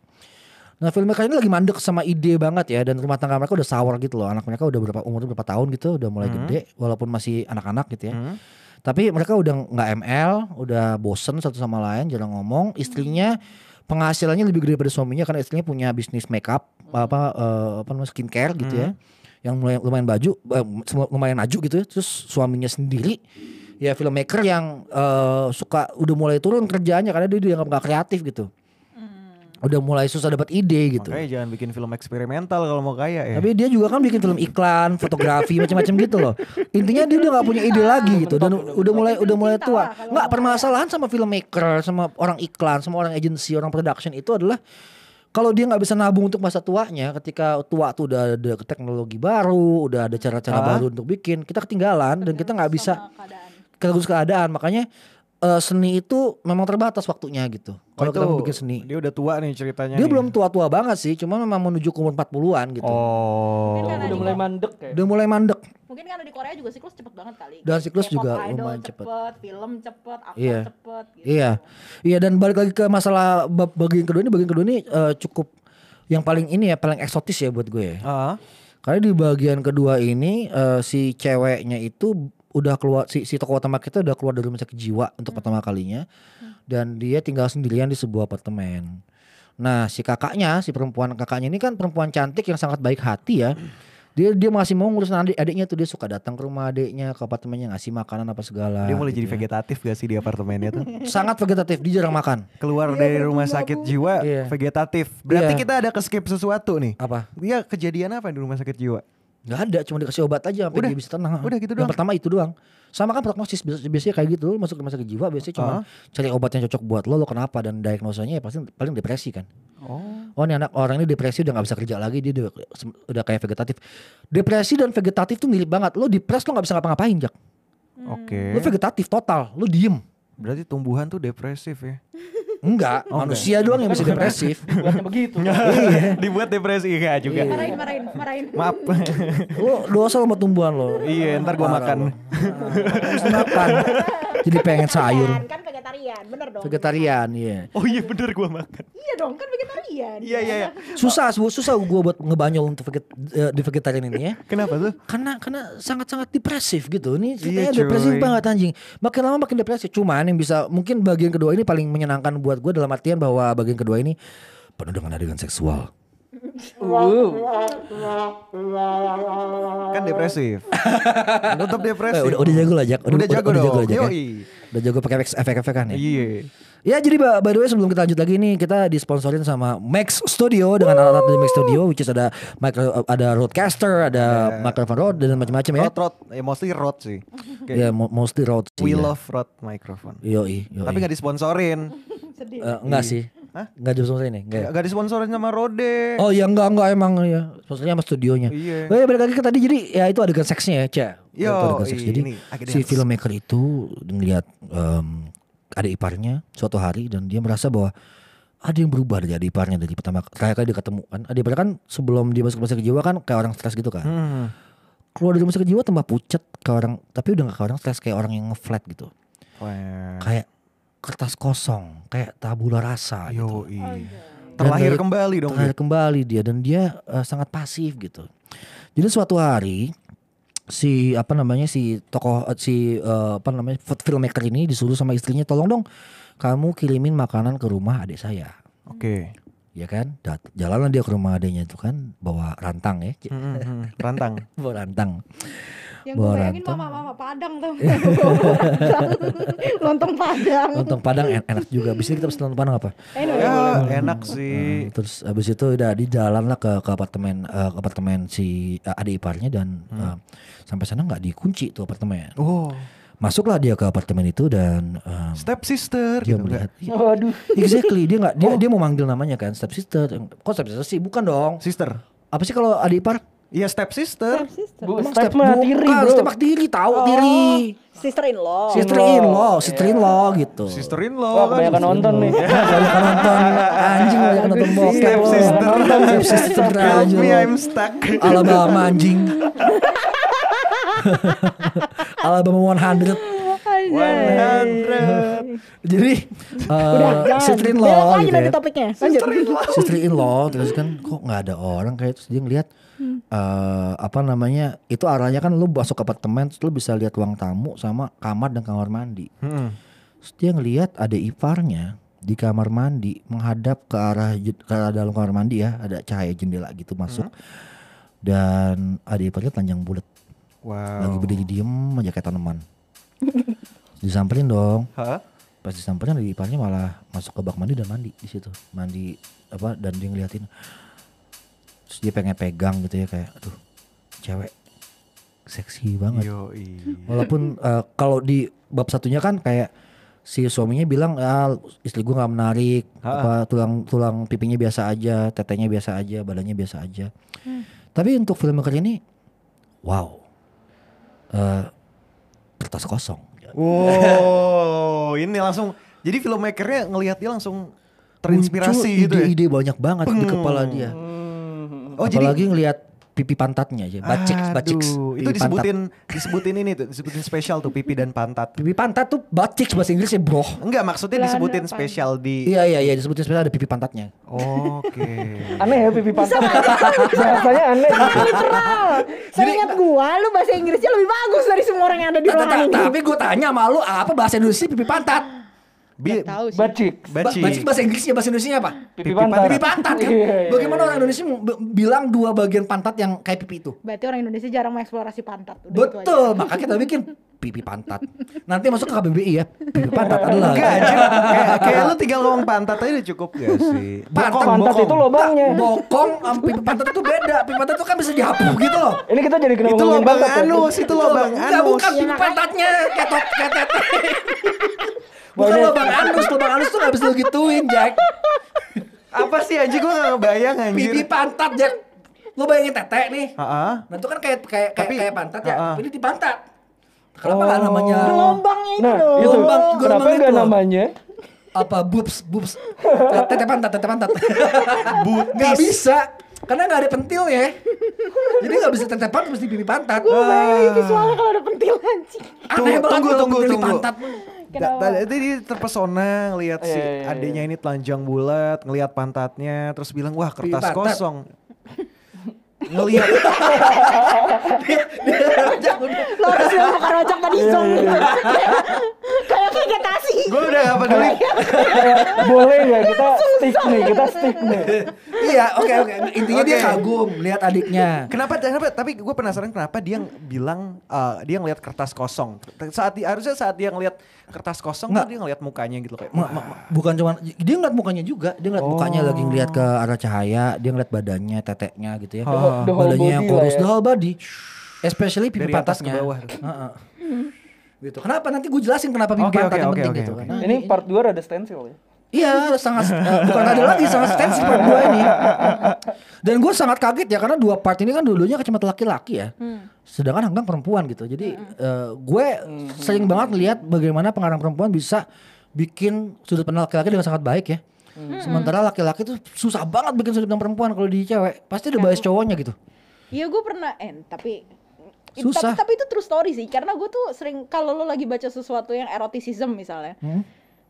[SPEAKER 2] nah filmmaker ini lagi mandek sama ide banget ya dan rumah tangga mereka udah sour gitu loh anak mereka udah berapa umur berapa tahun gitu udah mulai
[SPEAKER 1] Hmm.
[SPEAKER 2] gede walaupun masih anak-anak gitu ya
[SPEAKER 1] Hmm.
[SPEAKER 2] tapi mereka udah nggak ML udah bosen satu sama lain jarang ngomong istrinya penghasilannya lebih gede daripada suaminya karena istrinya punya bisnis makeup apa eh, apa namanya skincare gitu ya yang mulai lumayan baju eh, semu- lumayan maju gitu ya terus suaminya sendiri ya filmmaker yang eh, suka udah mulai turun kerjaannya karena dia dianggap nggak kreatif gitu udah mulai susah dapat ide gitu
[SPEAKER 1] Makanya jangan bikin film eksperimental kalau mau kaya ya.
[SPEAKER 2] tapi dia juga kan bikin film iklan, fotografi, macam-macam gitu loh. Intinya dia udah nggak punya ide lagi gitu dan udah mulai udah mulai tua. Nggak permasalahan sama filmmaker, sama orang iklan, sama orang agensi, orang production itu adalah kalau dia nggak bisa nabung untuk masa tuanya, ketika tua tuh udah ada teknologi baru, udah ada cara-cara
[SPEAKER 1] Ah.
[SPEAKER 2] baru untuk bikin, kita ketinggalan dan kita nggak bisa
[SPEAKER 5] Sama keadaan.
[SPEAKER 2] terus keadaan. Makanya eh, seni itu memang terbatas waktunya gitu.
[SPEAKER 1] Oh,
[SPEAKER 2] Kalau kita
[SPEAKER 1] itu
[SPEAKER 2] mau bikin seni,
[SPEAKER 1] Dia udah tua nih ceritanya.
[SPEAKER 2] dia
[SPEAKER 1] nih.
[SPEAKER 2] belum tua-tua banget sih, cuma memang menuju ke umur 40-an gitu.
[SPEAKER 1] Oh.
[SPEAKER 5] Mungkin karena
[SPEAKER 4] Udah mulai mandek ya.
[SPEAKER 2] Udah mulai mandek.
[SPEAKER 5] Mungkin karena di Korea juga siklus cepet banget kali.
[SPEAKER 2] Dan siklus
[SPEAKER 5] K-pop
[SPEAKER 2] juga
[SPEAKER 5] idol
[SPEAKER 2] lumayan
[SPEAKER 5] cepet,
[SPEAKER 2] cepet.
[SPEAKER 5] film cepet, aktor
[SPEAKER 2] Iya.
[SPEAKER 5] cepet. Gitu.
[SPEAKER 2] Iya, iya dan balik lagi ke masalah bab- bagian kedua ini, bagian kedua ini eh, cukup yang paling ini ya paling eksotis ya buat gue. ya.
[SPEAKER 1] Ah,
[SPEAKER 2] Karena di bagian kedua ini eh, si ceweknya itu udah keluar si si tokoh utama kita udah keluar dari rumah sakit jiwa untuk pertama kalinya dan dia tinggal sendirian di sebuah apartemen. Nah si kakaknya si perempuan kakaknya ini kan perempuan cantik yang sangat baik hati ya. Dia dia masih mau ngurus adik adiknya tuh dia suka datang ke rumah adiknya ke apartemennya ngasih makanan apa segala.
[SPEAKER 1] dia mulai
[SPEAKER 2] gitu
[SPEAKER 1] jadi
[SPEAKER 2] ya.
[SPEAKER 1] vegetatif gak sih di apartemennya tuh?
[SPEAKER 2] Sangat vegetatif dia jarang makan.
[SPEAKER 1] Keluar
[SPEAKER 5] Iya,
[SPEAKER 1] dari rumah
[SPEAKER 5] bertumbuh
[SPEAKER 1] sakit
[SPEAKER 5] abu.
[SPEAKER 1] jiwa
[SPEAKER 2] Iya.
[SPEAKER 1] vegetatif. Berarti
[SPEAKER 2] Iya.
[SPEAKER 1] kita ada keskip sesuatu nih.
[SPEAKER 2] Apa?
[SPEAKER 1] Dia kejadian apa di rumah sakit jiwa?
[SPEAKER 2] Gak ada, cuma dikasih obat aja sampai
[SPEAKER 1] Udah,
[SPEAKER 2] dia bisa tenang.
[SPEAKER 1] udah gitu
[SPEAKER 2] Yang
[SPEAKER 1] doang.
[SPEAKER 2] pertama itu doang. Sama kan prognosis bias- biasanya kayak gitu, lu masuk rumah sakit jiwa biasanya cuma
[SPEAKER 1] Ah.
[SPEAKER 2] cari obat yang cocok buat lo, lo kenapa dan diagnosanya ya pasti paling depresi kan.
[SPEAKER 1] Oh.
[SPEAKER 5] Hmm.
[SPEAKER 2] Oh ini anak orang ini depresi udah nggak bisa kerja lagi, dia udah, udah kayak vegetatif. Depresi dan vegetatif tuh mirip banget. Lo depres lo nggak bisa ngapa-ngapain, Jak. Lo
[SPEAKER 1] Oke.
[SPEAKER 2] vegetatif total, lo diem.
[SPEAKER 1] Berarti tumbuhan tuh depresif ya.
[SPEAKER 2] Enggak,
[SPEAKER 1] Oh, enggak.
[SPEAKER 2] manusia doang yang bisa depresif.
[SPEAKER 4] Buatnya begitu.
[SPEAKER 5] Iya.
[SPEAKER 1] Iya, Dibuat depresi enggak juga.
[SPEAKER 2] Iya.
[SPEAKER 5] Marahin, marahin, marahin.
[SPEAKER 1] Maaf.
[SPEAKER 2] lo dosa sama tumbuhan lo.
[SPEAKER 1] iya, ntar gua
[SPEAKER 2] Parah
[SPEAKER 1] makan.
[SPEAKER 2] lo. Harus makan. Jadi pengen sayur.
[SPEAKER 5] Vegetarian, Kan vegetarian, bener dong.
[SPEAKER 2] Vegetarian, iya.
[SPEAKER 1] Oh iya bener gua makan.
[SPEAKER 5] Iya dong, kan vegetarian.
[SPEAKER 1] Iya, iya, iya.
[SPEAKER 2] susah su- susah gue buat ngebanyol untuk veget, eh, di vegetarian ini ya
[SPEAKER 1] Kenapa tuh?
[SPEAKER 2] karena karena sangat sangat depresif gitu ini
[SPEAKER 1] Iya,
[SPEAKER 2] ceritanya depresif
[SPEAKER 1] cuy.
[SPEAKER 2] banget anjing makin lama makin depresif cuman yang bisa mungkin bagian kedua ini paling menyenangkan buat gue dalam artian bahwa bagian kedua ini penuh dengan adegan seksual
[SPEAKER 4] Wow.
[SPEAKER 1] Kan depresif. Tetap depresif.
[SPEAKER 2] Eh, udah, udah jago lah Jak.
[SPEAKER 1] Udah jago
[SPEAKER 2] udah,
[SPEAKER 1] dong.
[SPEAKER 2] jago Jak, ya.
[SPEAKER 1] Yoi.
[SPEAKER 2] Udah jago pakai efek-efek kan ya.
[SPEAKER 1] Iya.
[SPEAKER 2] Ya jadi by by the way sebelum kita lanjut lagi nih kita disponsorin sama Max Studio dengan alat-alat dari Max Studio which is ada micro ada roadcaster, ada
[SPEAKER 1] Iya.
[SPEAKER 2] microphone rod dan macam-macam ya.
[SPEAKER 1] Rod, rod. Ya, mostly rod sih. Kayak
[SPEAKER 2] Ya mo- mostly road sih.
[SPEAKER 1] we
[SPEAKER 2] ya.
[SPEAKER 1] love rod microphone.
[SPEAKER 2] Yoi, yoi.
[SPEAKER 1] Tapi gak disponsorin.
[SPEAKER 5] Sedih.
[SPEAKER 2] Eh, enggak sih.
[SPEAKER 1] Hah?
[SPEAKER 2] Enggak disponsorin nih. Enggak. ya?
[SPEAKER 1] Gak, gak disponsorin sama Rode.
[SPEAKER 2] Oh ya enggak enggak emang ya. Sponsornya sama studionya.
[SPEAKER 1] Iya.
[SPEAKER 2] Oh ya balik lagi ke tadi jadi ya itu adegan seksnya ya, Ca.
[SPEAKER 1] Yo,
[SPEAKER 2] Itu adegan seks.
[SPEAKER 1] i-
[SPEAKER 2] Jadi
[SPEAKER 1] ini adegan
[SPEAKER 2] si
[SPEAKER 1] seks.
[SPEAKER 2] filmmaker itu melihat em adik iparnya suatu hari dan dia merasa bahwa ada yang berubah dari adik iparnya dari pertama terakhir kali dia ketemu kan. Adik iparnya kan sebelum dia masuk rumah sakit jiwa kan kayak orang stres gitu kan.
[SPEAKER 1] Hmm.
[SPEAKER 2] Keluar dari rumah sakit jiwa tambah pucat kayak orang tapi udah gak kayak orang stres kayak orang yang ngeflat gitu.
[SPEAKER 1] Wah.
[SPEAKER 2] Kayak kertas kosong, kayak tabula rasa gitu.
[SPEAKER 1] Yoi.
[SPEAKER 2] Dan
[SPEAKER 1] Terlahir
[SPEAKER 2] dari-
[SPEAKER 1] kembali dong.
[SPEAKER 2] terlahir kembali dia dan dia eh, sangat pasif gitu. Jadi suatu hari si apa namanya si tokoh eh, si eh, apa namanya f- filmmaker ini disuruh sama istrinya tolong dong kamu kirimin makanan ke rumah adik saya.
[SPEAKER 1] Oke.
[SPEAKER 2] Ya kan? Dat- Jalanlah dia ke rumah adiknya itu kan bawa rantang ya.
[SPEAKER 1] Hmm, hmm, hmm. Rantang.
[SPEAKER 2] Bawa rantang.
[SPEAKER 5] Yang gue bayangin
[SPEAKER 2] Boranto.
[SPEAKER 5] mama-mama Padang tuh. Lontong. Lontong Padang.
[SPEAKER 2] Lontong Padang en- enak juga. Abis ini kita pesen lontong Padang apa?
[SPEAKER 5] Anyway,
[SPEAKER 1] Ya, enak sih.
[SPEAKER 2] Hmm, terus abis itu udah di jalan lah ke, ke apartemen eh, ke apartemen si eh, adik iparnya dan
[SPEAKER 1] Hmm.
[SPEAKER 2] eh, sampai sana nggak dikunci tuh apartemen.
[SPEAKER 1] Oh,
[SPEAKER 2] Masuklah dia ke apartemen itu dan um,
[SPEAKER 1] step sister
[SPEAKER 2] dia
[SPEAKER 1] gitu Oh.
[SPEAKER 2] melihat iya,
[SPEAKER 1] enggak?
[SPEAKER 4] Waduh.
[SPEAKER 2] exactly dia nggak dia dia mau manggil namanya kan step sister. Kok step sister sih? Bukan dong.
[SPEAKER 1] Sister.
[SPEAKER 2] Apa sih kalau adik ipar?
[SPEAKER 1] Iya, step sister.
[SPEAKER 5] sister.
[SPEAKER 4] Bu,
[SPEAKER 2] Emang
[SPEAKER 4] step mah
[SPEAKER 2] bukan,
[SPEAKER 4] tiri, bro.
[SPEAKER 2] Step tiri tahu
[SPEAKER 1] Oh.
[SPEAKER 2] tiri.
[SPEAKER 5] Sister in law.
[SPEAKER 2] Sister in law, sister in law gitu.
[SPEAKER 1] Iya. Sister in
[SPEAKER 4] Wah,
[SPEAKER 1] law kan.
[SPEAKER 4] kebanyakan nonton nih.
[SPEAKER 2] Banyak nonton anjing banyak nonton bokep.
[SPEAKER 1] Step
[SPEAKER 2] lo.
[SPEAKER 1] sister.
[SPEAKER 2] Step sister
[SPEAKER 1] Help
[SPEAKER 2] aja
[SPEAKER 1] me,
[SPEAKER 2] lo.
[SPEAKER 1] I'm stuck.
[SPEAKER 2] Alabama anjing. Alabama 100.
[SPEAKER 1] 100.
[SPEAKER 2] Jadi
[SPEAKER 3] Udah,
[SPEAKER 2] uh,
[SPEAKER 3] jangan.
[SPEAKER 2] sister in
[SPEAKER 3] Belok
[SPEAKER 2] law
[SPEAKER 3] lagi
[SPEAKER 2] gitu
[SPEAKER 3] nanti
[SPEAKER 2] ya.
[SPEAKER 3] topiknya. Lanjut.
[SPEAKER 2] Sister in law terus kan kok nggak ada orang kayak terus dia ngelihat
[SPEAKER 3] Hmm.
[SPEAKER 2] eh, apa namanya itu arahnya kan lu masuk ke apartemen terus lu bisa lihat ruang tamu sama kamar dan kamar mandi.
[SPEAKER 1] Hmm.
[SPEAKER 2] Terus dia ngelihat ada iparnya di kamar mandi menghadap ke arah ju- ke arah dalam kamar mandi ya ada cahaya jendela gitu masuk
[SPEAKER 3] Hmm.
[SPEAKER 2] dan ada iparnya telanjang bulat lagi
[SPEAKER 1] Wow.
[SPEAKER 2] berdiri diem aja kayak tanaman disamperin dong
[SPEAKER 1] Hah?
[SPEAKER 2] pas disamperin dari iparnya malah masuk ke bak mandi dan mandi di situ mandi apa dan dia ngeliatin terus dia pengen pegang gitu ya kayak aduh cewek seksi banget
[SPEAKER 1] Yoi.
[SPEAKER 2] walaupun eh, kalau di bab satunya kan kayak si suaminya bilang ah, istri gue nggak menarik apa tulang tulang pipinya biasa aja tetenya biasa aja badannya biasa aja tapi untuk filmmaker ini wow Eh, kertas kosong
[SPEAKER 1] Wow, ini langsung. Jadi filmmakernya ngelihat dia langsung terinspirasi
[SPEAKER 2] Muncul
[SPEAKER 1] gitu ya.
[SPEAKER 2] ide-ide banyak banget di
[SPEAKER 1] Peng.
[SPEAKER 2] kepala dia
[SPEAKER 4] Hmm.
[SPEAKER 1] Oh
[SPEAKER 2] apalagi ngelihat pipi pantatnya aja bacik bacik
[SPEAKER 1] Aduh, itu disebutin disebutin ini tuh, disebutin spesial tuh pipi dan pantat.
[SPEAKER 2] pipi pantat tuh bacik bahasa Inggrisnya bro
[SPEAKER 1] Enggak, maksudnya disebutin spesial di
[SPEAKER 2] iya iya iya disebutin sebenarnya ada pipi pantatnya
[SPEAKER 1] Oke.
[SPEAKER 4] Aneh ya pipi pantat. Bahasanya aneh.
[SPEAKER 3] Saya ingat gua, lu bahasa Inggrisnya lebih bagus dari semua orang yang ada di
[SPEAKER 2] Ta-
[SPEAKER 3] ruangan
[SPEAKER 2] ta-
[SPEAKER 3] ini.
[SPEAKER 2] tapi gue tanya sama lu apa bahasa Indonesia pipi pantat
[SPEAKER 1] Bi-
[SPEAKER 5] Tahu sih.
[SPEAKER 4] Bacik.
[SPEAKER 2] Ba-
[SPEAKER 1] Baci.
[SPEAKER 2] bacik bahasa Inggrisnya bahasa Indonesia apa
[SPEAKER 4] Pipi pantat.
[SPEAKER 2] pipi pantat kan
[SPEAKER 4] Iya, iya,
[SPEAKER 2] bagaimana
[SPEAKER 4] iya.
[SPEAKER 2] orang Indonesia mem- bilang dua bagian pantat yang kayak pipi itu
[SPEAKER 5] Berarti orang Indonesia jarang mengeksplorasi pantat. Udah gitu aja.
[SPEAKER 2] betul makanya kita bikin pipi pantat nanti masuk ke KBBI ya pipi pantat adalah
[SPEAKER 1] Enggak anjir, kayak, kayak lu tinggal ngomong pantat aja udah cukup gak sih?
[SPEAKER 2] Pantat,
[SPEAKER 4] Pantat itu lubangnya.
[SPEAKER 2] Enggak, Bokong sama pipi pantat itu beda. Pipi pantat itu kan bisa dihapu gitu loh.
[SPEAKER 4] Ini kita jadi kenapa
[SPEAKER 1] Itu
[SPEAKER 4] ngomongin
[SPEAKER 1] lubang
[SPEAKER 4] pantat ya?
[SPEAKER 1] anus, itu lubang
[SPEAKER 2] Enggak,
[SPEAKER 1] anus.
[SPEAKER 5] Iya,
[SPEAKER 2] bukan pipi pantatnya ketok ketet. Bukan
[SPEAKER 4] Banyak.
[SPEAKER 2] lubang anus, lubang anus tuh gak bisa lo gituin, Jack.
[SPEAKER 1] Apa sih anjir gua gak ngebayang anjir.
[SPEAKER 2] Pipi pantat, Jack. Lo bayangin tete nih.
[SPEAKER 1] Heeh.
[SPEAKER 2] Nah, itu kan kayak kayak kayak,
[SPEAKER 1] Tapi-
[SPEAKER 2] kayak pantat ya.
[SPEAKER 1] Ah, ah.
[SPEAKER 2] Ini di pantat. Kenapa nggak namanya
[SPEAKER 3] Gelombangnya itu
[SPEAKER 4] Nah,
[SPEAKER 3] loh.
[SPEAKER 4] itu
[SPEAKER 2] Gelombang,
[SPEAKER 4] kenapa
[SPEAKER 2] gelombang
[SPEAKER 4] enggak
[SPEAKER 2] itu.
[SPEAKER 4] namanya?
[SPEAKER 2] apa boobs boobs tete pantat tete pantat nggak bisa karena nggak ada pentil ya jadi nggak bisa tete pantat mesti pipi pantat
[SPEAKER 3] Gua bayangin visualnya kalau ada pentil anjing.
[SPEAKER 2] Aneh
[SPEAKER 1] Tunggu,
[SPEAKER 2] banget kalau
[SPEAKER 1] tunggu,
[SPEAKER 2] pentil di
[SPEAKER 1] tunggu.
[SPEAKER 2] pantat.
[SPEAKER 1] Da- Tadi tadi dia terpesona
[SPEAKER 2] Oh,
[SPEAKER 1] ngelihat si
[SPEAKER 4] Iya, iya, iya.
[SPEAKER 1] adiknya ini telanjang bulat, ngelihat pantatnya, terus bilang wah
[SPEAKER 2] Pipi
[SPEAKER 1] kertas
[SPEAKER 2] pantat.
[SPEAKER 1] kosong. Ngelihat
[SPEAKER 2] Iya,
[SPEAKER 3] Lo harus bilang bukan rojak tadi zong. Kayak vegetasi.
[SPEAKER 1] gue udah gak peduli
[SPEAKER 4] Boleh nggak kita stick nih, kita stick nih.
[SPEAKER 2] iya oke oke intinya dia
[SPEAKER 1] Oke.
[SPEAKER 2] kagum lihat adiknya
[SPEAKER 1] Kenapa? Kenapa? Tapi gue penasaran kenapa dia ng- bilang eh, dia ngelihat kertas kosong. T- Saat di- harusnya saat dia ngelihat kertas kosong tuh
[SPEAKER 2] Nggak.
[SPEAKER 1] dia ngelihat mukanya gitu kayak.
[SPEAKER 2] Ma- ma- ma- bukan cuman dia ngeliat mukanya juga dia
[SPEAKER 1] Oh.
[SPEAKER 2] ngeliat mukanya lagi ngeliat ke arah cahaya dia ngeliat badannya teteknya gitu ya
[SPEAKER 4] Ah. The whole
[SPEAKER 2] badannya yang
[SPEAKER 4] body lah
[SPEAKER 2] kurus
[SPEAKER 4] ya.
[SPEAKER 2] the whole body especially pipi
[SPEAKER 1] Dari atas
[SPEAKER 2] pantatnya
[SPEAKER 1] ke bawah.
[SPEAKER 2] Heeh. gitu kenapa nanti gue jelasin kenapa pipi
[SPEAKER 1] Oke,
[SPEAKER 2] pantat
[SPEAKER 1] oke,
[SPEAKER 2] yang
[SPEAKER 1] oke,
[SPEAKER 2] penting
[SPEAKER 1] oke,
[SPEAKER 2] gitu
[SPEAKER 1] oke.
[SPEAKER 2] Karena
[SPEAKER 4] Ini part 2 ada stensil ya.
[SPEAKER 2] Iya, sangat eh, bukan ada lagi sangat stensi part dua ini. Dan gue sangat kaget ya karena dua part ini kan dulunya kacamata laki-laki ya. Sedangkan Hanggang perempuan gitu. Jadi eh, gue sering banget lihat bagaimana pengarang perempuan bisa bikin sudut pandang laki-laki dengan sangat baik ya. Sementara laki-laki tuh susah banget bikin sudut pandang perempuan kalau di cewek. Pasti ada bias cowoknya gitu.
[SPEAKER 5] Iya gue pernah en tapi tapi-
[SPEAKER 2] Susah.
[SPEAKER 5] Tapi, itu true story sih karena gue tuh sering kalau lo lagi baca sesuatu yang eroticism misalnya.
[SPEAKER 2] Hmm.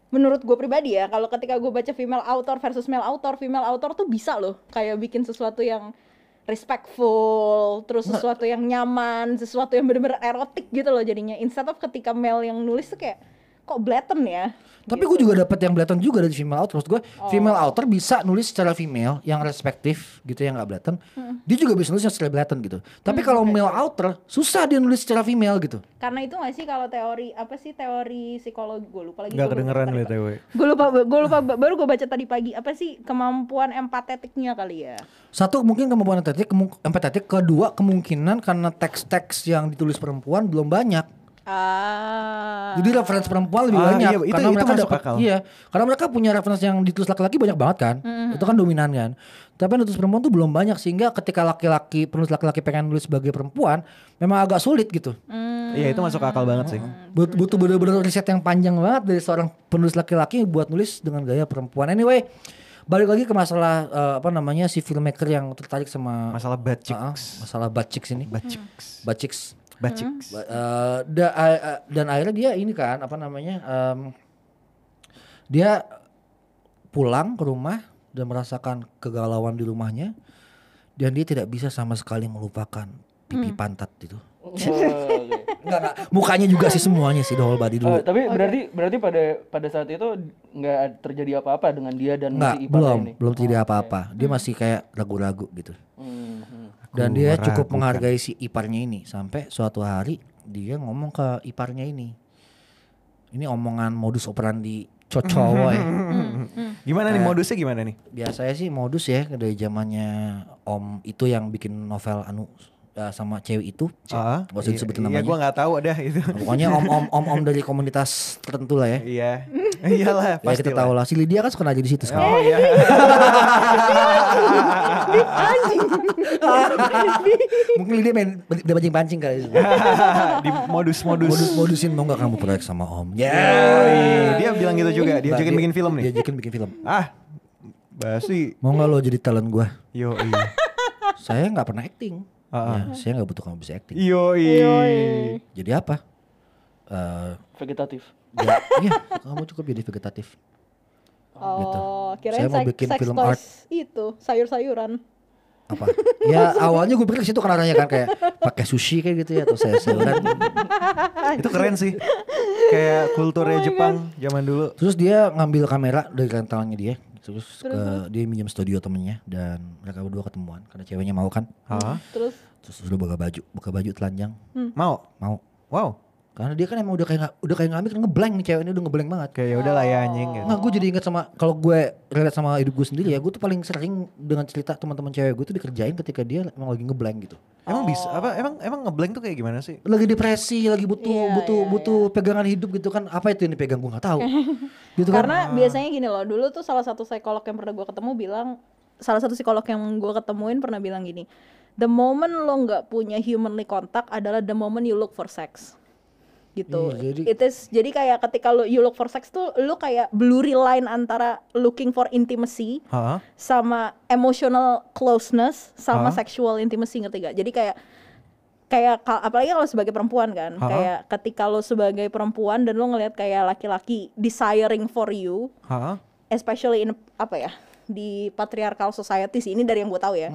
[SPEAKER 5] Menurut gue pribadi ya kalau ketika gue baca female author versus male author, female author tuh bisa loh kayak bikin sesuatu yang respectful, terus
[SPEAKER 2] Nah.
[SPEAKER 5] sesuatu yang nyaman, sesuatu yang bener-bener erotik gitu loh jadinya. Instead of ketika male yang nulis tuh kayak kok blatant ya.
[SPEAKER 2] Tapi gue juga dapat yang blatant juga dari female author. Maksud gue female author bisa nulis secara female yang respektif gitu yang gak blatant. Dia juga bisa nulis yang secara blatant gitu. Tapi kalau male author susah dia nulis secara female gitu.
[SPEAKER 5] Karena itu gak sih kalau teori apa sih teori psikologi gue lupa lagi.
[SPEAKER 1] Gak
[SPEAKER 5] gua
[SPEAKER 1] kedengeran
[SPEAKER 2] ya,
[SPEAKER 5] tadi, Pak.
[SPEAKER 1] btw.
[SPEAKER 5] Gue lupa, gue lupa baru gue baca tadi pagi apa sih kemampuan empatetiknya kali ya.
[SPEAKER 2] Satu mungkin kemampuan empatetik, kemu- empatetik. Kedua kemungkinan karena teks-teks yang ditulis perempuan belum banyak.
[SPEAKER 5] Ah.
[SPEAKER 2] Jadi referensi perempuan lebih
[SPEAKER 1] Ah,
[SPEAKER 2] banyak
[SPEAKER 1] iya, itu-
[SPEAKER 2] karena
[SPEAKER 1] itu
[SPEAKER 2] mereka
[SPEAKER 1] masuk
[SPEAKER 2] dapat
[SPEAKER 1] akal.
[SPEAKER 2] iya, karena mereka punya referensi yang ditulis laki-laki banyak banget kan. Itu kan dominan kan. Tapi yang ditulis perempuan tuh belum banyak sehingga ketika laki-laki penulis laki-laki pengen nulis sebagai perempuan memang agak sulit gitu.
[SPEAKER 5] Hmm.
[SPEAKER 1] Iya itu masuk akal banget sih.
[SPEAKER 2] But- butuh bener-bener riset yang panjang banget dari seorang penulis laki-laki buat nulis dengan gaya perempuan. Anyway, balik lagi ke masalah eh, apa namanya si filmmaker yang tertarik sama
[SPEAKER 1] Masalah bad
[SPEAKER 2] Ah,
[SPEAKER 1] chicks.
[SPEAKER 2] masalah bacik ini.
[SPEAKER 1] Bad chicks.
[SPEAKER 2] Bacik.
[SPEAKER 1] Bad chicks.
[SPEAKER 2] Ba- eh, da- a- a- dan akhirnya dia ini kan apa namanya em, dia pulang ke rumah dan merasakan kegalauan di rumahnya dan dia tidak bisa sama sekali melupakan pipi pantat itu
[SPEAKER 4] Oh, oke.
[SPEAKER 2] enggak enggak mukanya juga sih semuanya sih the whole body dulu
[SPEAKER 4] Oh, tapi berarti berarti pada pada saat itu nggak terjadi apa-apa dengan dia dan
[SPEAKER 2] enggak
[SPEAKER 4] si Ipan
[SPEAKER 2] belum
[SPEAKER 4] ini.
[SPEAKER 2] belum terjadi apa-apa dia masih kayak ragu-ragu gitu
[SPEAKER 4] Hmm, hmm.
[SPEAKER 1] Oh,
[SPEAKER 2] dan dia cukup
[SPEAKER 1] meragukan.
[SPEAKER 2] menghargai si iparnya ini sampai suatu hari dia ngomong ke iparnya ini ini omongan modus operandi cocowoy
[SPEAKER 1] Gimana nih modusnya gimana nih?
[SPEAKER 2] biasanya sih modus ya dari zamannya om itu yang bikin novel anu eh, sama cewek itu Cek,
[SPEAKER 1] Ah,
[SPEAKER 2] nggak usah
[SPEAKER 1] iya-
[SPEAKER 2] disebutin
[SPEAKER 1] Iya
[SPEAKER 2] namanya
[SPEAKER 1] gue nggak tahu dah itu.
[SPEAKER 2] pokoknya om om om om dari komunitas tertentu lah ya
[SPEAKER 1] Iya. Iyalah
[SPEAKER 2] ya
[SPEAKER 1] pasti
[SPEAKER 2] kita tahu lah si Lydia kan suka aja di situ sekarang
[SPEAKER 1] Oh iya.
[SPEAKER 2] Ah, Gitu. mungkin Lydia main udah pancing pancing kali itu
[SPEAKER 1] Di modus-modus.
[SPEAKER 2] modus modusin mau nggak kamu proyek sama om ya
[SPEAKER 1] Yoi. Dia bilang gitu juga. Dia
[SPEAKER 2] Diajakin
[SPEAKER 1] bikin bikin film nih.
[SPEAKER 2] diajakin bikin film
[SPEAKER 1] Ah, basi.
[SPEAKER 2] mau nggak lo jadi talent gua
[SPEAKER 1] Yo
[SPEAKER 2] saya nggak pernah acting
[SPEAKER 1] Ah.
[SPEAKER 2] Ya, saya nggak butuh kamu bisa acting
[SPEAKER 1] Yoi.
[SPEAKER 2] jadi apa Eh
[SPEAKER 4] Vegetatif.
[SPEAKER 2] ya, iya, kamu cukup jadi vegetatif
[SPEAKER 5] Oh,
[SPEAKER 2] Gitu.
[SPEAKER 5] kirain
[SPEAKER 2] Saya mau
[SPEAKER 5] sek-
[SPEAKER 2] bikin
[SPEAKER 5] sex
[SPEAKER 2] film
[SPEAKER 5] toys
[SPEAKER 2] art.
[SPEAKER 5] itu sayur-sayuran.
[SPEAKER 2] apa ya awalnya gue pikir ke situ kan arahnya kan kayak pakai sushi kayak gitu ya atau saya sayuran
[SPEAKER 1] Itu keren sih. Kayak kulturnya Jepang zaman dulu.
[SPEAKER 2] terus dia ngambil kamera dari rentalnya dia terus ke, dia minjem studio temennya dan mereka berdua ketemuan karena ceweknya mau kan
[SPEAKER 1] Hah?
[SPEAKER 5] Terus
[SPEAKER 2] terus sudah buka baju buka baju telanjang
[SPEAKER 1] Mau?
[SPEAKER 2] mau
[SPEAKER 1] Wow.
[SPEAKER 2] karena dia kan emang udah kayak nggak- udah kayak ngambil kan ngeblank nih cewek ini udah ngeblank banget
[SPEAKER 1] Kayak ya udahlah ya anjing gitu.
[SPEAKER 2] Nggak, gue jadi inget sama kalau gue relate sama hidup gue sendiri ya gue tuh paling sering dengan cerita teman-teman cewek gue tuh dikerjain ketika dia emang lagi ngeblank gitu
[SPEAKER 1] Emang bisa apa emang emang ngeblank tuh kayak gimana sih?
[SPEAKER 2] lagi depresi, lagi butuh
[SPEAKER 5] Iya,
[SPEAKER 2] butuh
[SPEAKER 5] iya,
[SPEAKER 2] butuh pegangan hidup gitu kan. Apa itu yang dipegang gua nggak tahu. gitu kan.
[SPEAKER 5] karena biasanya gini loh, dulu tuh salah satu psikolog yang pernah gue ketemu bilang salah satu psikolog yang gue ketemuin pernah bilang gini, the moment lo nggak punya humanly contact adalah the moment you look for sex. gitu.
[SPEAKER 2] Iya, jadi-
[SPEAKER 5] It is jadi kayak ketika lo you look for sex tuh lo kayak blurry line antara looking for intimacy
[SPEAKER 1] Hah?
[SPEAKER 5] sama emotional closeness sama
[SPEAKER 1] Hah?
[SPEAKER 5] sexual intimacy ngerti gak? Jadi kayak kayak ka- apalagi kalau sebagai perempuan kan,
[SPEAKER 1] Hah?
[SPEAKER 5] kayak ketika lo sebagai perempuan dan lo ngelihat kayak laki-laki desiring for you,
[SPEAKER 1] Hah?
[SPEAKER 2] Hmm.
[SPEAKER 5] especially in apa ya di patriarchal society sih ini dari yang gue tahu ya.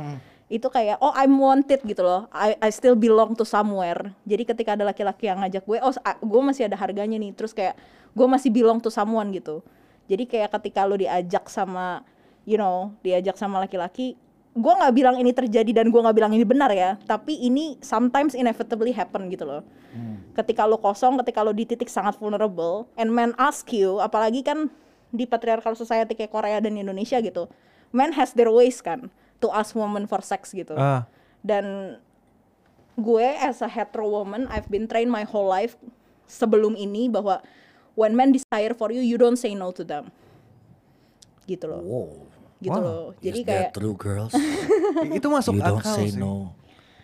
[SPEAKER 5] itu kayak oh I'm wanted gitu loh I I still belong to somewhere jadi ketika ada laki-laki yang ngajak gue oh a- gue masih ada harganya nih terus kayak gue masih belong to someone gitu jadi kayak ketika lo diajak sama you know diajak sama laki-laki gue nggak bilang ini terjadi dan gue nggak bilang ini benar ya tapi ini sometimes inevitably happen gitu loh ketika lo kosong ketika lo di titik sangat vulnerable and men ask you apalagi kan di patriarchal society kayak Korea dan Indonesia gitu men has their ways kan to ask women for sex gitu
[SPEAKER 1] Ah,
[SPEAKER 5] dan gue as a hetero woman I've been trained my whole life sebelum ini bahwa when men desire for you you don't say no to them gitu loh
[SPEAKER 2] Wow.
[SPEAKER 5] gitu
[SPEAKER 1] Wow.
[SPEAKER 5] loh jadi
[SPEAKER 6] Is that
[SPEAKER 5] kayak
[SPEAKER 6] true girls?
[SPEAKER 1] itu masuk
[SPEAKER 6] you don't
[SPEAKER 1] akal
[SPEAKER 6] say
[SPEAKER 1] sih.
[SPEAKER 6] no.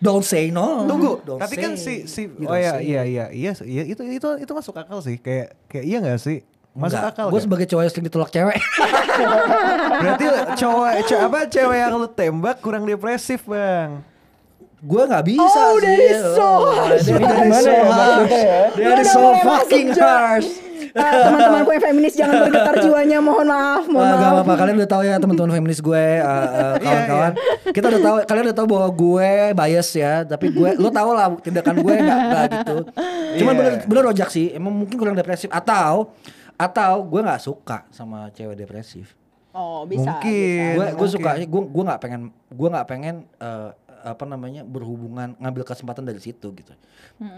[SPEAKER 2] Don't say no.
[SPEAKER 1] Tunggu,
[SPEAKER 2] Don't
[SPEAKER 1] tapi kan si
[SPEAKER 2] say.
[SPEAKER 1] si
[SPEAKER 2] You
[SPEAKER 1] oh
[SPEAKER 2] don't
[SPEAKER 1] ya
[SPEAKER 2] say.
[SPEAKER 1] iya iya iya s- iya, itu itu itu masuk akal sih. Kayak kayak iya nggak sih? Masuk
[SPEAKER 2] Enggak,
[SPEAKER 1] akal.
[SPEAKER 2] Gue
[SPEAKER 1] nggak?
[SPEAKER 2] sebagai cowok yang sering ditolak cewek.
[SPEAKER 1] Berarti cowok ce- apa cewek yang lu tembak kurang depresif, Bang.
[SPEAKER 2] gue nggak bisa
[SPEAKER 5] Oh,
[SPEAKER 2] sih.
[SPEAKER 5] that is so harsh.
[SPEAKER 2] That
[SPEAKER 1] That is
[SPEAKER 2] is
[SPEAKER 1] so
[SPEAKER 2] so harsh. That is so
[SPEAKER 5] Udah mulai masuk
[SPEAKER 2] fucking
[SPEAKER 5] joke.
[SPEAKER 2] harsh.
[SPEAKER 5] "Ah, teman-temanku yang feminis jangan bergetar jiwanya mohon maaf mohon
[SPEAKER 2] Wah, gak Ah,
[SPEAKER 5] maaf Iya,
[SPEAKER 2] apa-apa. Kalian udah tahu ya teman-teman feminis gue, eh, eh, kawan-kawan. Kita udah tahu, kalian udah tahu bahwa gue bias ya. Tapi gue, lo tau lah tindakan gue nggak nggak gitu. Cuman
[SPEAKER 1] Iya.
[SPEAKER 2] bener bener rojak sih. Emang mungkin kurang depresif atau atau gue nggak suka sama cewek depresif.
[SPEAKER 5] oh bisa
[SPEAKER 1] Mungkin.
[SPEAKER 2] Gue gue
[SPEAKER 1] Mungkin.
[SPEAKER 2] suka gue gue nggak pengen gue nggak pengen eh, apa namanya berhubungan ngambil kesempatan dari situ gitu.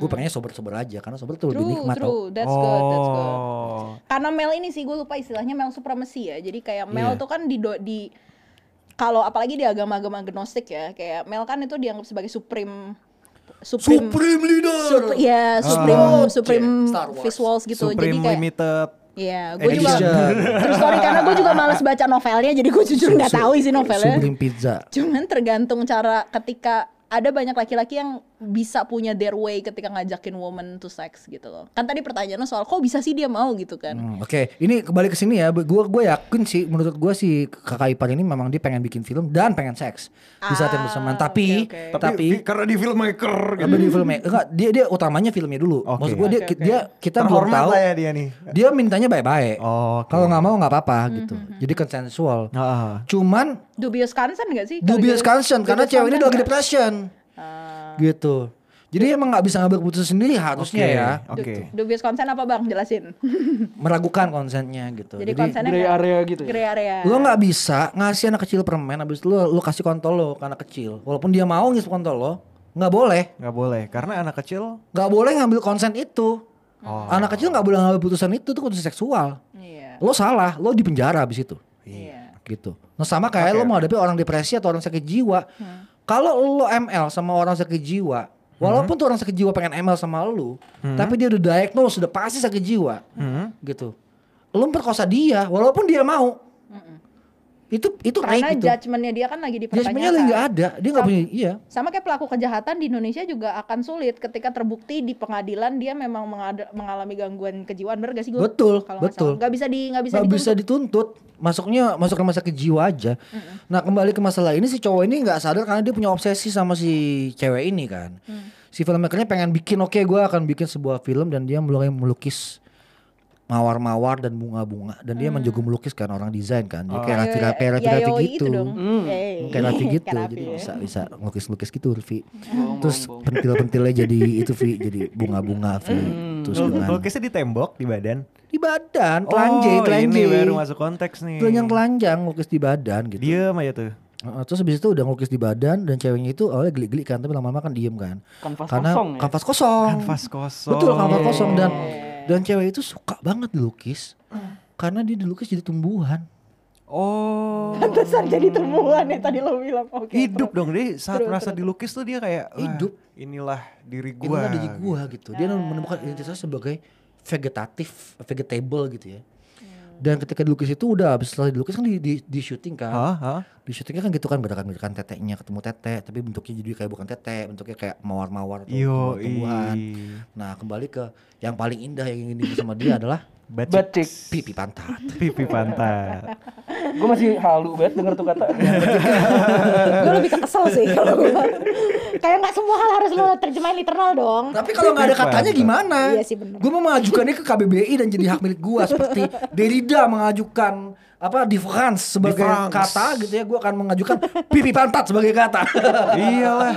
[SPEAKER 2] Gue pengennya sober-sober aja karena sober tuh
[SPEAKER 5] bisa.
[SPEAKER 2] lebih
[SPEAKER 5] true
[SPEAKER 2] nikmat tau.
[SPEAKER 5] true that's good that's good
[SPEAKER 1] Oh.
[SPEAKER 5] karena male ini sih gue lupa istilahnya male supremacy ya jadi kayak
[SPEAKER 2] Iya.
[SPEAKER 5] male tuh kan di do- di kalau apalagi di agama-agama agnostik ya kayak male kan itu dianggap sebagai supreme supreme
[SPEAKER 2] Supreme leader.
[SPEAKER 5] Sup- ya supreme supreme
[SPEAKER 2] Ah. Iya. Star Wars.
[SPEAKER 5] visuals gitu
[SPEAKER 1] Supreme
[SPEAKER 5] jadi kayak
[SPEAKER 1] Limited.
[SPEAKER 5] Iya, gue juga
[SPEAKER 2] Edition.
[SPEAKER 5] terus sorry karena gue juga males baca novelnya jadi gue jujur nggak tahu isi novelnya
[SPEAKER 2] Sublime pizza.
[SPEAKER 5] cuman tergantung cara ketika ada banyak laki-laki yang bisa punya their way ketika ngajakin woman to sex gitu loh kan tadi pertanyaannya soal kok bisa sih dia mau gitu kan
[SPEAKER 2] Hmm, Oke, ini kembali ke sini ya. Gue gue yakin sih, menurut gue si kakak ipar ini memang dia pengen bikin film dan pengen seks di saat yang
[SPEAKER 5] Ah,
[SPEAKER 2] bersamaan.
[SPEAKER 5] oke,
[SPEAKER 2] Tapi,
[SPEAKER 5] oke.
[SPEAKER 2] tapi, tapi,
[SPEAKER 1] di- karena di filmmaker gitu.
[SPEAKER 2] di filmnya enggak dia dia utamanya filmnya dulu.
[SPEAKER 1] Oke.
[SPEAKER 2] Maksud gue dia
[SPEAKER 5] Oke, oke.
[SPEAKER 2] dia kita belum
[SPEAKER 1] Terhormat
[SPEAKER 2] tahu.
[SPEAKER 1] lah ya dia nih.
[SPEAKER 2] Dia mintanya baik-baik.
[SPEAKER 1] Oh, oke.
[SPEAKER 2] Kalau nggak mau nggak apa-apa
[SPEAKER 5] Hmm,
[SPEAKER 2] gitu. Jadi konsensual.
[SPEAKER 1] Ah.
[SPEAKER 2] Cuman
[SPEAKER 5] dubious consent gak sih Kalau
[SPEAKER 2] dubious
[SPEAKER 5] gitu-
[SPEAKER 2] consent karena
[SPEAKER 5] dubious
[SPEAKER 2] cewek ini
[SPEAKER 5] consent
[SPEAKER 2] lagi
[SPEAKER 5] nggak? Ah.
[SPEAKER 2] depression. Gitu. Jadi emang nggak bisa ngambil keputusan sendiri harusnya
[SPEAKER 1] Oke,
[SPEAKER 2] ya.
[SPEAKER 1] Oke.
[SPEAKER 5] Du- dubious consent apa bang jelasin
[SPEAKER 2] Meragukan konsennya gitu.
[SPEAKER 5] jadi, konsennya
[SPEAKER 4] Grey
[SPEAKER 5] kayak-
[SPEAKER 4] area gitu ya?
[SPEAKER 5] grey area
[SPEAKER 2] Lo nggak bisa ngasih anak kecil permen habis itu lo, lo kasih kontol lo ke anak kecil. Walaupun dia mau ngisep kontol lo, nggak boleh.
[SPEAKER 1] Nggak boleh karena anak kecil
[SPEAKER 2] Nggak boleh ngambil konsen itu.
[SPEAKER 5] Hmm.
[SPEAKER 1] Oh.
[SPEAKER 2] Anak kecil nggak boleh ngambil putusan itu tuh keputusan seksual.
[SPEAKER 5] iya
[SPEAKER 2] Lo salah, lo di penjara habis itu.
[SPEAKER 5] iya
[SPEAKER 2] Gitu. Nah sama
[SPEAKER 1] Oke,
[SPEAKER 2] kayak lo mau hadapi orang depresi atau orang sakit jiwa. Kalau lo ML sama orang sakit jiwa, walaupun tuh orang sakit jiwa pengen ML sama lo, tapi dia udah diagnose, udah pasti sakit jiwa.
[SPEAKER 1] Hmm.
[SPEAKER 2] Gitu. Lo memperkosa dia, walaupun dia mau. Itu itu
[SPEAKER 5] karena
[SPEAKER 2] rape itu.
[SPEAKER 5] judgementnya dia kan lagi
[SPEAKER 2] gitu. Judgementnya lagi nggak
[SPEAKER 5] dipertanyakan
[SPEAKER 2] ada, dia nggak
[SPEAKER 5] Sam-
[SPEAKER 2] punya, iya.
[SPEAKER 5] sama kayak pelaku kejahatan di Indonesia juga akan sulit ketika terbukti di pengadilan dia memang mengada- mengalami gangguan kejiwan bener gak sih gue
[SPEAKER 2] Betul, betul.
[SPEAKER 5] nggak bisa di nggak bisa
[SPEAKER 2] Nggak bisa
[SPEAKER 5] dituntut.
[SPEAKER 2] dituntut, masuknya masuk rumah sakit jiwa aja. Nah kembali ke masalah ini si cowok ini nggak sadar karena dia punya obsesi sama si cewek ini kan.
[SPEAKER 5] Hmm.
[SPEAKER 2] Si filmmakernya pengen bikin, oke gua akan bikin sebuah film dan dia mulai melukis mawar-mawar dan bunga-bunga dan
[SPEAKER 5] Hmm.
[SPEAKER 2] dia menjago melukis kan orang desain kan,
[SPEAKER 5] Oh.
[SPEAKER 2] dia kayak Raffi
[SPEAKER 5] Iya,
[SPEAKER 2] kayak Raffi- Raffi
[SPEAKER 5] Yayoi
[SPEAKER 2] gitu.
[SPEAKER 5] dong.
[SPEAKER 2] kayak Raffi gitu
[SPEAKER 5] iya, Kayak Raffi
[SPEAKER 2] jadi
[SPEAKER 5] ya.
[SPEAKER 2] bisa bisa ngelukis lukis gitu Raffi
[SPEAKER 4] Bohong,
[SPEAKER 2] terus
[SPEAKER 4] bohong, bohong.
[SPEAKER 2] pentil-pentilnya jadi itu Vi jadi bunga-bunga Vi
[SPEAKER 5] Hmm.
[SPEAKER 2] terus dengan
[SPEAKER 1] Lukisnya di tembok di badan.
[SPEAKER 2] di badan telanjang
[SPEAKER 1] oh,
[SPEAKER 2] telanjang
[SPEAKER 1] ini baru masuk konteks nih.
[SPEAKER 2] telanjang telanjang ngelukis di badan gitu
[SPEAKER 1] Diam aja tuh.
[SPEAKER 2] Heeh, terus habis itu udah ngelukis di badan dan ceweknya itu awalnya geli-geli kan tapi lama-lama kan diem kan
[SPEAKER 4] Kanvas
[SPEAKER 2] karena
[SPEAKER 4] kosong ya?
[SPEAKER 2] kanvas kosong
[SPEAKER 1] Kanvas kosong. Iya.
[SPEAKER 2] betul kanvas kosong dan dan cewek itu suka banget dilukis karena dia dilukis jadi tumbuhan
[SPEAKER 1] Oh.
[SPEAKER 5] Pantesan jadi tumbuhan ya tadi lo bilang oke
[SPEAKER 1] Hidup dong dia saat
[SPEAKER 5] Terus,
[SPEAKER 1] merasa
[SPEAKER 5] terus.
[SPEAKER 1] dilukis tuh dia kayak "Wah,
[SPEAKER 2] Hidup.
[SPEAKER 1] Inilah diri gua.
[SPEAKER 2] inilah dari gua gitu dia
[SPEAKER 4] Ah.
[SPEAKER 2] menemukan identitasnya sebagai vegetatif vegetable gitu ya dan ketika dilukis itu udah habis setelah dilukis kan di, di, di syuting kan
[SPEAKER 1] Hah? Hah?
[SPEAKER 2] di syutingnya kan gitu kan gerakan-gerakan teteknya ketemu tete tapi bentuknya jadi kayak bukan tete bentuknya kayak mawar-mawar atau
[SPEAKER 1] Yo,
[SPEAKER 2] tumbuhan
[SPEAKER 1] iya.
[SPEAKER 2] nah kembali ke yang paling indah yang ingin dibuat sama dia adalah
[SPEAKER 4] Batik.
[SPEAKER 2] pipi pantat
[SPEAKER 1] Pipi pantat.
[SPEAKER 4] Gue masih halu banget denger tuh kata.
[SPEAKER 5] gue lebih kesel sih kalau gue kayak nggak semua hal harus lo terjemahin literal dong
[SPEAKER 2] tapi kalau nggak ada katanya gimana
[SPEAKER 5] Iya sih, bener.
[SPEAKER 2] gue mau mengajukannya ke KBBI dan jadi hak milik gua seperti Derrida mengajukan apa difference sebagai
[SPEAKER 1] Difference.
[SPEAKER 2] kata gitu ya gue akan mengajukan pipi pantat sebagai kata
[SPEAKER 1] Iyalah,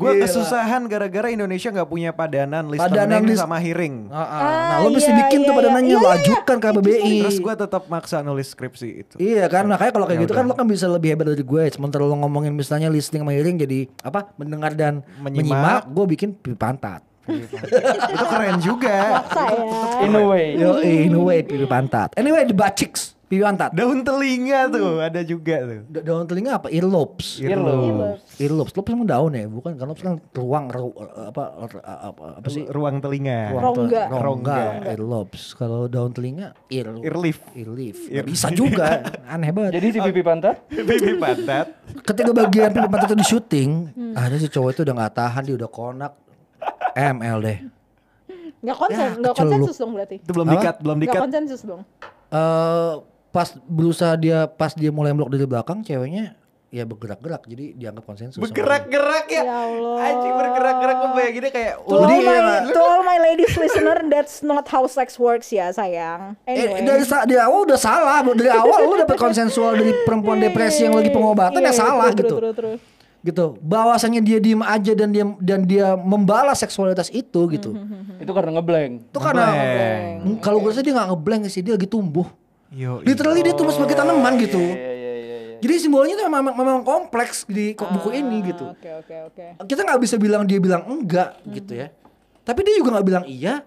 [SPEAKER 1] gue
[SPEAKER 2] Gila.
[SPEAKER 1] kesusahan gara-gara Indonesia nggak punya padanan listening
[SPEAKER 2] Padanan lis-
[SPEAKER 1] sama hearing.
[SPEAKER 2] Ah, ah. nah
[SPEAKER 5] Ah,
[SPEAKER 2] lo mesti
[SPEAKER 5] iya,
[SPEAKER 2] bikin tuh
[SPEAKER 5] iya,
[SPEAKER 2] pada
[SPEAKER 5] iya.
[SPEAKER 2] nanya
[SPEAKER 5] Iya,
[SPEAKER 2] lo
[SPEAKER 5] iya,
[SPEAKER 2] ajukan ke BBI
[SPEAKER 1] Terus gue tetap maksa nulis skripsi itu.
[SPEAKER 2] Iya kan, nah kayak kalau kayak
[SPEAKER 1] Ya
[SPEAKER 2] gitu kan lo
[SPEAKER 1] udah.
[SPEAKER 2] kan bisa lebih hebat dari gue. Sementara lo ngomongin misalnya listening sama hearing jadi apa mendengar dan menyimak,
[SPEAKER 1] Menyimak.
[SPEAKER 2] gue bikin pipi pantat.
[SPEAKER 1] itu keren juga.
[SPEAKER 5] Maksa ya.
[SPEAKER 4] In a way.
[SPEAKER 2] Yo, in a way pipi pantat. Anyway, the baciks pipi pantat.
[SPEAKER 1] Daun telinga
[SPEAKER 2] Hmm.
[SPEAKER 1] tuh ada juga tuh.
[SPEAKER 2] Da- daun telinga apa? Earlobes. iya.
[SPEAKER 4] Iya Earlobe.
[SPEAKER 2] Earlobes, lobes emang daun ya, bukan? Kan lobes kan ruang ru- apa apa apa sih?
[SPEAKER 1] Ruang telinga.
[SPEAKER 2] Ruang tel-
[SPEAKER 5] Rongga.
[SPEAKER 2] Rongga,
[SPEAKER 1] Rongga.
[SPEAKER 2] earlobes. Kalau daun telinga, ear
[SPEAKER 1] Irlif.
[SPEAKER 2] earleaf.
[SPEAKER 1] Ear-
[SPEAKER 2] Bisa juga, aneh banget.
[SPEAKER 4] Jadi si pipi pantat
[SPEAKER 1] Baby pantat.
[SPEAKER 2] ketika bagian pipi pantat itu di syuting, ada si cowok itu udah nggak tahan, dia udah konak ML deh.
[SPEAKER 5] Nggak konsen,
[SPEAKER 2] Ya,
[SPEAKER 5] nggak
[SPEAKER 2] kecelup.
[SPEAKER 5] konsensus dong berarti.
[SPEAKER 1] Itu belum
[SPEAKER 2] Apa?
[SPEAKER 1] dikat, belum
[SPEAKER 5] Nggak
[SPEAKER 1] dikat.
[SPEAKER 5] konsensus dong.
[SPEAKER 2] Eh pas berusaha dia pas dia mulai melok dari belakang, ceweknya ya bergerak-gerak, jadi dianggap konsensus.
[SPEAKER 1] Gitu,
[SPEAKER 2] sama dia.
[SPEAKER 1] Bergerak-gerak ya.
[SPEAKER 5] Ya Allah.
[SPEAKER 1] Anjing bergerak-gerak gue bayanginnya kayak
[SPEAKER 5] To
[SPEAKER 1] ular.
[SPEAKER 5] all, my,
[SPEAKER 2] ya."
[SPEAKER 5] to all my ladies listener, that's not how sex works ya sayang.
[SPEAKER 2] Eh,
[SPEAKER 5] Anyway.
[SPEAKER 2] dari, sa- dari awal udah salah, bro. dari awal lu dapet konsensual dari perempuan depresi yang lagi pengobatan
[SPEAKER 5] Iya,
[SPEAKER 2] ya
[SPEAKER 5] iya,
[SPEAKER 2] salah
[SPEAKER 5] true,
[SPEAKER 2] gitu.
[SPEAKER 5] true, true, true.
[SPEAKER 2] Gitu. Bahwasanya dia diem aja dan dia dan dia membalas seksualitas itu
[SPEAKER 5] Hmm,
[SPEAKER 2] gitu.
[SPEAKER 4] itu karena ngeblank.
[SPEAKER 2] Itu karena
[SPEAKER 1] Ngeblank.
[SPEAKER 2] Hmm, kalau gue rasa dia nggak ngeblank sih, dia lagi tumbuh.
[SPEAKER 1] Yo, iya.
[SPEAKER 2] Literally dia tumbuh sebagai tanaman gitu.
[SPEAKER 4] Iya iya iya iya.
[SPEAKER 2] Jadi simbolnya itu memang, memang kompleks di
[SPEAKER 5] Ah.
[SPEAKER 2] ko- buku ini gitu.
[SPEAKER 5] Oke, oke, oke.
[SPEAKER 2] Kita nggak bisa bilang dia bilang enggak gitu
[SPEAKER 5] Hmm.
[SPEAKER 2] ya. Tapi dia juga nggak bilang iya.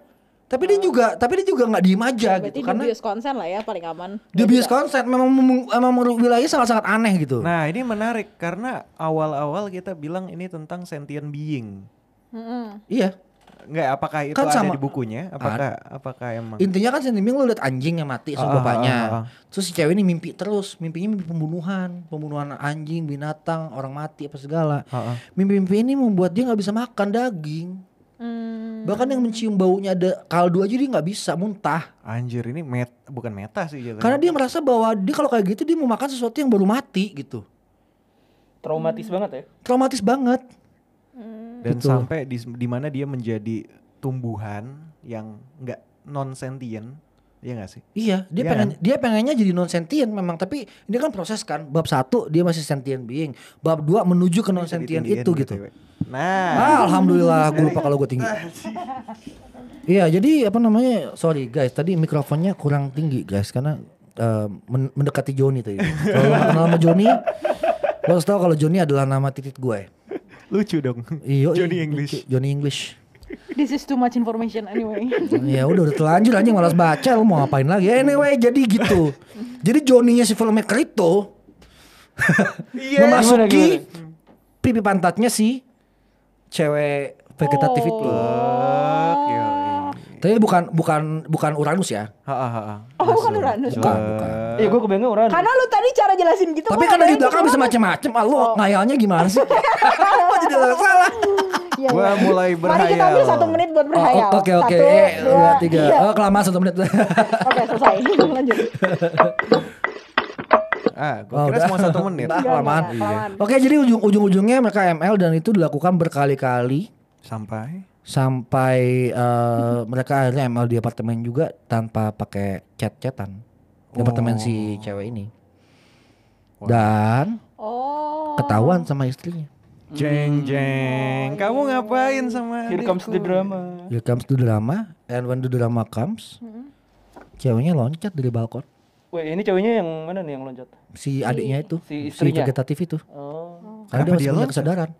[SPEAKER 2] Tapi dia juga tapi dia juga nggak diem aja
[SPEAKER 5] Ah. Berarti
[SPEAKER 2] gitu
[SPEAKER 5] di
[SPEAKER 2] karena
[SPEAKER 5] bias konsen lah ya paling aman.
[SPEAKER 2] dia bias konsep memang mem- memang menurut wilayahnya sangat-sangat aneh gitu.
[SPEAKER 1] Nah ini menarik karena awal-awal kita bilang ini tentang sentient being.
[SPEAKER 2] iya.
[SPEAKER 1] Enggak, apakah itu
[SPEAKER 2] Kan
[SPEAKER 1] ada di
[SPEAKER 2] sama-
[SPEAKER 1] bukunya? Apakah apakah emang?
[SPEAKER 2] Intinya kan sentimen lu lihat anjing yang
[SPEAKER 1] Ah,
[SPEAKER 2] mati sama
[SPEAKER 1] ah,
[SPEAKER 2] bapaknya.
[SPEAKER 1] ah, ah.
[SPEAKER 2] Terus si cewek ini mimpi terus, mimpinya mimpi pembunuhan, pembunuhan anjing, binatang, orang mati apa segala.
[SPEAKER 1] Ah, ah.
[SPEAKER 2] Mimpi-mimpi ini membuat dia nggak bisa makan daging.
[SPEAKER 1] Hmm.
[SPEAKER 5] Mm.
[SPEAKER 2] Bahkan yang mencium baunya ada kaldu aja dia nggak bisa muntah.
[SPEAKER 1] Anjir ini met bukan meta sih jatuhnya.
[SPEAKER 2] Karena dia merasa bahwa dia kalau kayak gitu dia mau makan sesuatu yang baru mati gitu.
[SPEAKER 4] Traumatis banget ya.
[SPEAKER 2] Traumatis banget.
[SPEAKER 5] Mm.
[SPEAKER 1] dan
[SPEAKER 2] Betul.
[SPEAKER 1] sampai di di mana dia menjadi tumbuhan yang enggak non sentient. Iya enggak sih?
[SPEAKER 2] Iya, dia
[SPEAKER 1] Iya
[SPEAKER 2] pengen dia pengennya jadi non sentient memang, tapi ini kan proses kan. Bab satu dia masih sentient being, bab dua menuju ke non sentient
[SPEAKER 1] Jadi ya.
[SPEAKER 2] itu
[SPEAKER 1] tinggiin
[SPEAKER 2] gitu.
[SPEAKER 1] BTW. Nah,
[SPEAKER 2] Ah, Alhamdulillah gue lupa kalau gue tinggi. Iya, jadi apa namanya? Sorry guys, tadi mikrofonnya kurang tinggi guys karena eh, men- mendekati Joni tadi. Kalau lo kenal sama Joni, lo harus tahu kalau Joni adalah nama titik ya. gue.
[SPEAKER 1] lucu dong.
[SPEAKER 2] Iyo,
[SPEAKER 1] Johnny English.
[SPEAKER 2] Johnny iya. English.
[SPEAKER 5] This is too much information anyway.
[SPEAKER 2] ya udah udah telanjur anjing malas baca lo mau ngapain lagi anyway jadi gitu jadi Joninya si filmmaker itu Iya,
[SPEAKER 4] Gimana,
[SPEAKER 2] memasuki
[SPEAKER 4] gimana?
[SPEAKER 2] Hmm. pipi pantatnya si cewek vegetatif itu
[SPEAKER 5] Oh.
[SPEAKER 1] Oke,
[SPEAKER 2] Iya,
[SPEAKER 1] oke.
[SPEAKER 2] tapi bukan bukan bukan Uranus ya
[SPEAKER 1] Ha, ha, ha, ha.
[SPEAKER 5] Oh, bukan Uranus.
[SPEAKER 2] bukan bukan
[SPEAKER 4] Iya gue kebayangnya orang.
[SPEAKER 5] Karena lu tadi cara jelasin gitu.
[SPEAKER 2] tapi
[SPEAKER 5] gua
[SPEAKER 2] kan dari
[SPEAKER 5] ngebayangin
[SPEAKER 2] belakang bisa
[SPEAKER 5] Uranus.
[SPEAKER 2] macem-macem ah,
[SPEAKER 5] Oh.
[SPEAKER 2] lo ngayalnya gimana sih Kok jadi salah
[SPEAKER 5] Iya,
[SPEAKER 1] Gua
[SPEAKER 5] iya.
[SPEAKER 1] mulai
[SPEAKER 5] Mari kita ambil
[SPEAKER 1] berhayal.
[SPEAKER 5] satu menit buat
[SPEAKER 2] Oh,
[SPEAKER 5] berhayal.
[SPEAKER 2] oke oke
[SPEAKER 5] Satu,
[SPEAKER 2] Eh,
[SPEAKER 5] dua,
[SPEAKER 2] dua tiga
[SPEAKER 5] iya.
[SPEAKER 2] oh kelamaan satu menit
[SPEAKER 5] Oke, selesai. Lanjut.
[SPEAKER 1] Ah, gua
[SPEAKER 2] Oh,
[SPEAKER 1] kira
[SPEAKER 2] udah.
[SPEAKER 1] cuma satu menit. Ah,
[SPEAKER 2] Udah,
[SPEAKER 5] Enggak,
[SPEAKER 2] kelamaan. Iya.
[SPEAKER 5] enggak, kelamaan.
[SPEAKER 2] Oke, jadi ujung ujung ujungnya mereka ML dan itu dilakukan berkali-kali
[SPEAKER 1] Sampai Mm-hmm.
[SPEAKER 2] sampai eh, mereka akhirnya ML di apartemen juga tanpa pakai chat-chatan
[SPEAKER 1] Oh.
[SPEAKER 2] di apartemen si cewek ini. Dan
[SPEAKER 5] Oh.
[SPEAKER 2] ketahuan sama istrinya.
[SPEAKER 1] jeng
[SPEAKER 2] Hmm.
[SPEAKER 5] Oh,
[SPEAKER 1] jeng.
[SPEAKER 5] iya.
[SPEAKER 1] Kamu ngapain sama
[SPEAKER 4] Here comes the
[SPEAKER 1] adikku?
[SPEAKER 4] drama.
[SPEAKER 2] Here comes the drama and when the drama comes, ceweknya loncat dari balkon.
[SPEAKER 4] Wah ini ceweknya yang mana nih yang loncat?
[SPEAKER 2] Si adiknya itu, si
[SPEAKER 4] si istrinya.
[SPEAKER 2] vegetatif itu.
[SPEAKER 4] Oh.
[SPEAKER 2] Karena
[SPEAKER 1] Kenapa
[SPEAKER 2] dia masih
[SPEAKER 1] dia
[SPEAKER 2] punya
[SPEAKER 1] loncat?
[SPEAKER 2] kesadaran.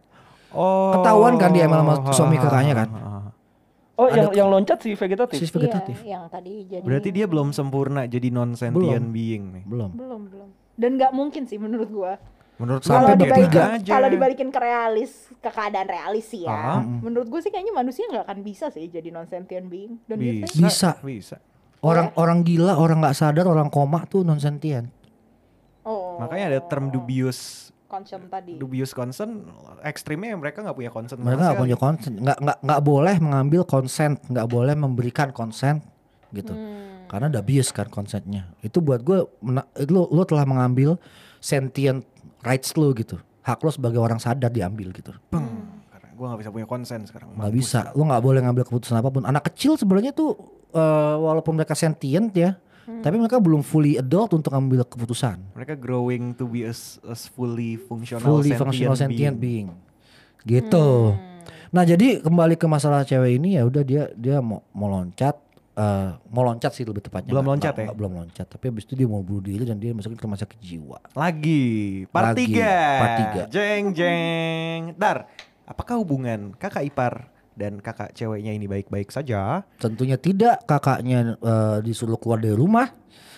[SPEAKER 1] Oh. Ah,
[SPEAKER 2] Ketahuan kan dia ML sama
[SPEAKER 1] ha,
[SPEAKER 2] suami
[SPEAKER 1] ha,
[SPEAKER 2] kakaknya
[SPEAKER 1] ha,
[SPEAKER 2] kan?
[SPEAKER 1] ha, ha.
[SPEAKER 4] Oh
[SPEAKER 2] Ada
[SPEAKER 4] yang yang loncat si vegetatif.
[SPEAKER 2] Si vegetatif.
[SPEAKER 5] Iya, yang tadi jadi.
[SPEAKER 1] Berarti dia belum sempurna jadi non sentient being nih.
[SPEAKER 2] Belum.
[SPEAKER 5] belum belum. Dan nggak mungkin sih menurut gua.
[SPEAKER 1] Menurut gua
[SPEAKER 2] Sampai bab
[SPEAKER 1] biarin
[SPEAKER 2] tiga.
[SPEAKER 1] aja.
[SPEAKER 5] Kalau dibalikin ke realis, ke keadaan realis sih ya.
[SPEAKER 1] Ah.
[SPEAKER 5] Menurut gue sih kayaknya manusia nggak akan bisa sih jadi non sentient being. Dan
[SPEAKER 1] bisa.
[SPEAKER 5] biasanya
[SPEAKER 2] Bisa.
[SPEAKER 1] Bisa.
[SPEAKER 2] Orang orang gila, orang nggak sadar, orang koma tuh non sentient.
[SPEAKER 5] oh,
[SPEAKER 1] Makanya ada term dubious
[SPEAKER 5] concern tadi.
[SPEAKER 1] dubious concern ekstrimnya yang mereka nggak punya concern sama
[SPEAKER 2] Mereka nggak
[SPEAKER 1] sekali.
[SPEAKER 2] punya konsen, nggak nggak nggak boleh mengambil konsen, nggak boleh memberikan konsen gitu.
[SPEAKER 5] Hmm.
[SPEAKER 2] Karena udah bias kan konsennya. Itu buat gue, mena- itu lo, lo telah mengambil sentient rights lo gitu. Hak lo sebagai orang sadar diambil gitu.
[SPEAKER 1] Peng. Hmm. Karena gue nggak bisa punya konsen sekarang.
[SPEAKER 2] Nggak bisa, lo nggak boleh ngambil keputusan apapun. Anak kecil sebenarnya tuh eh, walaupun mereka sentient ya, Tapi mereka belum fully adult untuk ambil keputusan.
[SPEAKER 1] Mereka growing to be as, as fully functional
[SPEAKER 2] fully
[SPEAKER 1] sentient
[SPEAKER 2] functional sentient
[SPEAKER 1] being.
[SPEAKER 2] being.
[SPEAKER 5] Hmm.
[SPEAKER 2] Gitu. Nah, jadi kembali ke masalah cewek ini ya udah dia dia mau mau loncat eh, mau loncat sih lebih tepatnya.
[SPEAKER 1] Belum
[SPEAKER 2] Nggak-
[SPEAKER 1] loncat
[SPEAKER 2] nggak-
[SPEAKER 1] ya?
[SPEAKER 2] nggak- belum loncat, tapi habis itu dia mau bunuh diri dan dia masukin ke rumah sakit jiwa.
[SPEAKER 1] Lagi part
[SPEAKER 2] Lagi,
[SPEAKER 1] 3.
[SPEAKER 2] part tiga.
[SPEAKER 1] Jeng jeng. Dar, apakah hubungan kakak ipar dan kakak ceweknya ini baik-baik saja?
[SPEAKER 2] Tentunya tidak kakaknya eh, disuruh keluar dari rumah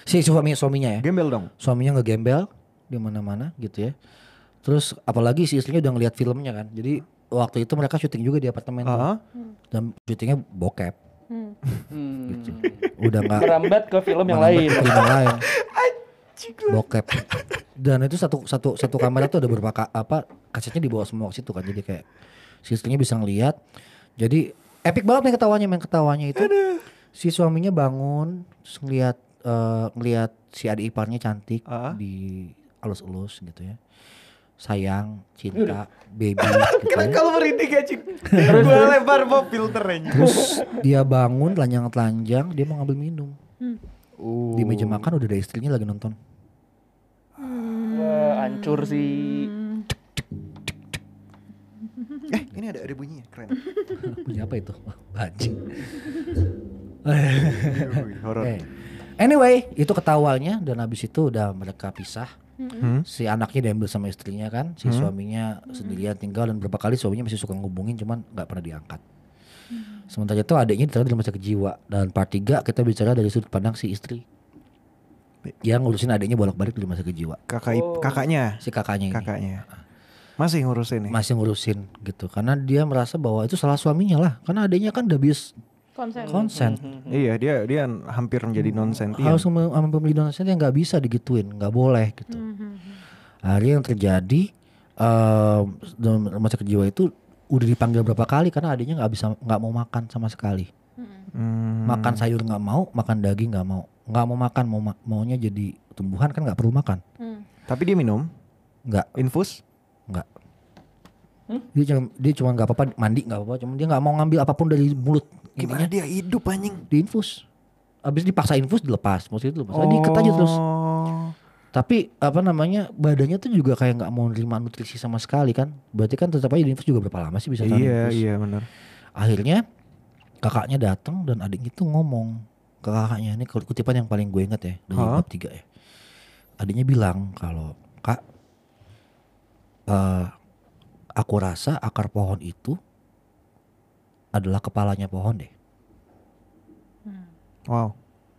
[SPEAKER 2] si suami suaminya ya.
[SPEAKER 1] Gembel dong.
[SPEAKER 2] Suaminya ngegembel di mana-mana gitu ya. Terus apalagi si istrinya udah ngeliat filmnya kan. Jadi waktu itu mereka syuting juga di apartemen tuh.
[SPEAKER 1] Heeh.
[SPEAKER 2] dan syutingnya bokep.
[SPEAKER 4] Hmm.
[SPEAKER 2] Udah nggak
[SPEAKER 4] Merambat ke film yang lain.
[SPEAKER 2] Film yang lain. Bokep. Dan itu satu satu satu kamera tuh ada beberapa ka- apa kasetnya dibawa semua ke situ kan. Jadi kayak si istrinya bisa ngelihat. Jadi epic banget nih ketawanya main ketawanya itu. Si suaminya bangun terus ngelihat eh, ngelihat si adik iparnya cantik
[SPEAKER 1] Ah.
[SPEAKER 2] di alus-alus gitu ya. Sayang, cinta, baby gitu ya.
[SPEAKER 1] Kalau merinding aja. Gue lebar mau filter aja.
[SPEAKER 2] Terus dia bangun telanjang-telanjang, dia mau ngambil minum.
[SPEAKER 1] Uh.
[SPEAKER 2] Di meja
[SPEAKER 4] Oh.
[SPEAKER 2] makan udah ada istrinya lagi nonton.
[SPEAKER 4] Wah, hancur sih.
[SPEAKER 1] Eh, ini ada ada bunyinya, keren.
[SPEAKER 2] Punya apa itu? Bajing.
[SPEAKER 1] Wih, Horor.
[SPEAKER 2] Eh, Anyway, itu ketawalnya dan habis itu udah mereka pisah.
[SPEAKER 1] Hmm.
[SPEAKER 2] Si anaknya diambil sama istrinya kan, si suaminya sendirian tinggal dan berapa kali suaminya masih suka ngubungin cuman nggak pernah diangkat. Sementara itu adiknya ditaruh di rumah sakit jiwa dan part 3 kita bicara dari sudut pandang si istri yang ngurusin adiknya bolak-balik di rumah sakit jiwa.
[SPEAKER 1] Kakak ip-
[SPEAKER 4] Oh.
[SPEAKER 1] kakaknya,
[SPEAKER 2] Si kakaknya ini.
[SPEAKER 1] kakaknya. Masih ngurusin nih.
[SPEAKER 2] masih ngurusin gitu karena dia merasa bahwa itu salah suaminya lah karena adanya kan udah bias
[SPEAKER 5] konsen
[SPEAKER 4] Hmm,
[SPEAKER 2] consent
[SPEAKER 1] Iya, dia dia hampir menjadi non sentient.
[SPEAKER 2] harus sama sama pemilik donasi yang nggak bisa digituin nggak boleh
[SPEAKER 5] Hmm,
[SPEAKER 2] gitu akhirnya yang terjadi em, dalam rumah sakit jiwa itu udah dipanggil berapa kali karena adanya nggak bisa nggak mau makan sama sekali
[SPEAKER 1] Hmm.
[SPEAKER 2] makan sayur nggak mau makan daging nggak mau nggak mau makan mau ma- maunya jadi tumbuhan kan nggak perlu makan
[SPEAKER 5] hmm.
[SPEAKER 1] Tapi dia minum
[SPEAKER 2] nggak
[SPEAKER 1] infus.
[SPEAKER 2] nggak dia cuma dia cuma nggak apa-apa mandi nggak apa-apa cuma dia nggak mau ngambil apapun dari mulut
[SPEAKER 1] Gimana dia hidup anjing?
[SPEAKER 2] diinfus habis dipaksa infus dilepas maksudnya dilepas oh. diikat aja terus
[SPEAKER 1] Oh.
[SPEAKER 2] tapi apa namanya badannya tuh juga kayak nggak mau nerima nutrisi sama sekali kan berarti kan tetap aja diinfus juga berapa lama sih bisa tahan
[SPEAKER 1] Iya,
[SPEAKER 2] diinfus?
[SPEAKER 1] iya benar.
[SPEAKER 2] akhirnya kakaknya datang dan adiknya tuh ngomong ke kakaknya ini kutipan yang paling gue ingat ya dari
[SPEAKER 1] Hah?
[SPEAKER 2] bab tiga ya adiknya bilang kalau kak eh, aku rasa akar pohon itu adalah kepalanya pohon deh
[SPEAKER 1] Wow.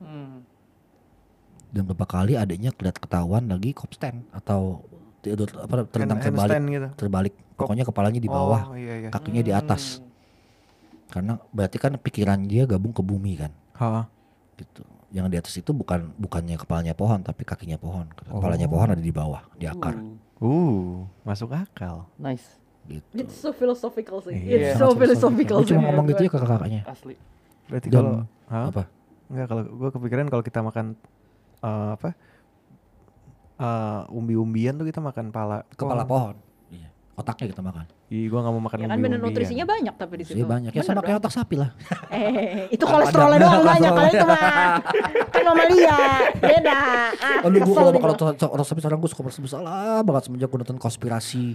[SPEAKER 4] Hmm.
[SPEAKER 2] dan beberapa kali adiknya keliat ketahuan lagi kopsten atau tidur apa terlentang
[SPEAKER 1] Hand-
[SPEAKER 2] terbalik
[SPEAKER 1] handstand gitu.
[SPEAKER 2] terbalik pokoknya kepalanya di
[SPEAKER 1] Oh,
[SPEAKER 2] bawah
[SPEAKER 1] iya iya.
[SPEAKER 2] kakinya di atas karena berarti kan pikiran dia gabung ke bumi kan
[SPEAKER 1] Ha.
[SPEAKER 2] gitu yang di atas itu bukan bukannya kepalanya pohon tapi kakinya pohon kepalanya
[SPEAKER 1] Oh.
[SPEAKER 2] pohon ada di bawah di akar
[SPEAKER 1] Uh,
[SPEAKER 4] Uh,
[SPEAKER 1] masuk akal.
[SPEAKER 4] nice.
[SPEAKER 2] gitu
[SPEAKER 5] It's Hmm. so philosophical sih.
[SPEAKER 1] Iya,
[SPEAKER 5] It's
[SPEAKER 4] sangat
[SPEAKER 5] so philosophical
[SPEAKER 2] Gue
[SPEAKER 5] sih.
[SPEAKER 2] cuma ngomong
[SPEAKER 5] menurut
[SPEAKER 2] gitu ya
[SPEAKER 5] gue.
[SPEAKER 2] ke kakaknya
[SPEAKER 4] Asli.
[SPEAKER 1] Berarti
[SPEAKER 2] Dan-
[SPEAKER 1] kalau ha?
[SPEAKER 2] apa
[SPEAKER 1] Enggak kalau gua kepikiran kalau kita makan eh, apa? Eh, umbi-umbian tuh kita makan pala Oh.
[SPEAKER 2] kepala pohon Iya. otaknya kita makan
[SPEAKER 1] Ih, gua nggak mau makan
[SPEAKER 5] Ya kan bener
[SPEAKER 1] umbi-umbian.
[SPEAKER 5] nutrisinya banyak tapi di situ.
[SPEAKER 2] jadi banyak ya
[SPEAKER 5] Bener
[SPEAKER 2] sama
[SPEAKER 5] dong.
[SPEAKER 2] kayak otak sapi lah
[SPEAKER 5] Eh, itu
[SPEAKER 2] Ada-
[SPEAKER 5] kolesterolnya
[SPEAKER 2] ada-
[SPEAKER 5] doang
[SPEAKER 2] ada
[SPEAKER 5] banyak kalau itu mah. Kan mamalia, beda. Ah,
[SPEAKER 2] Aduh gue
[SPEAKER 5] kesel
[SPEAKER 2] kalau
[SPEAKER 5] nih
[SPEAKER 2] makan
[SPEAKER 5] gua.
[SPEAKER 2] otot- otot sapi sekarang gue suka merasa bersalah banget semenjak gue nonton konspirasi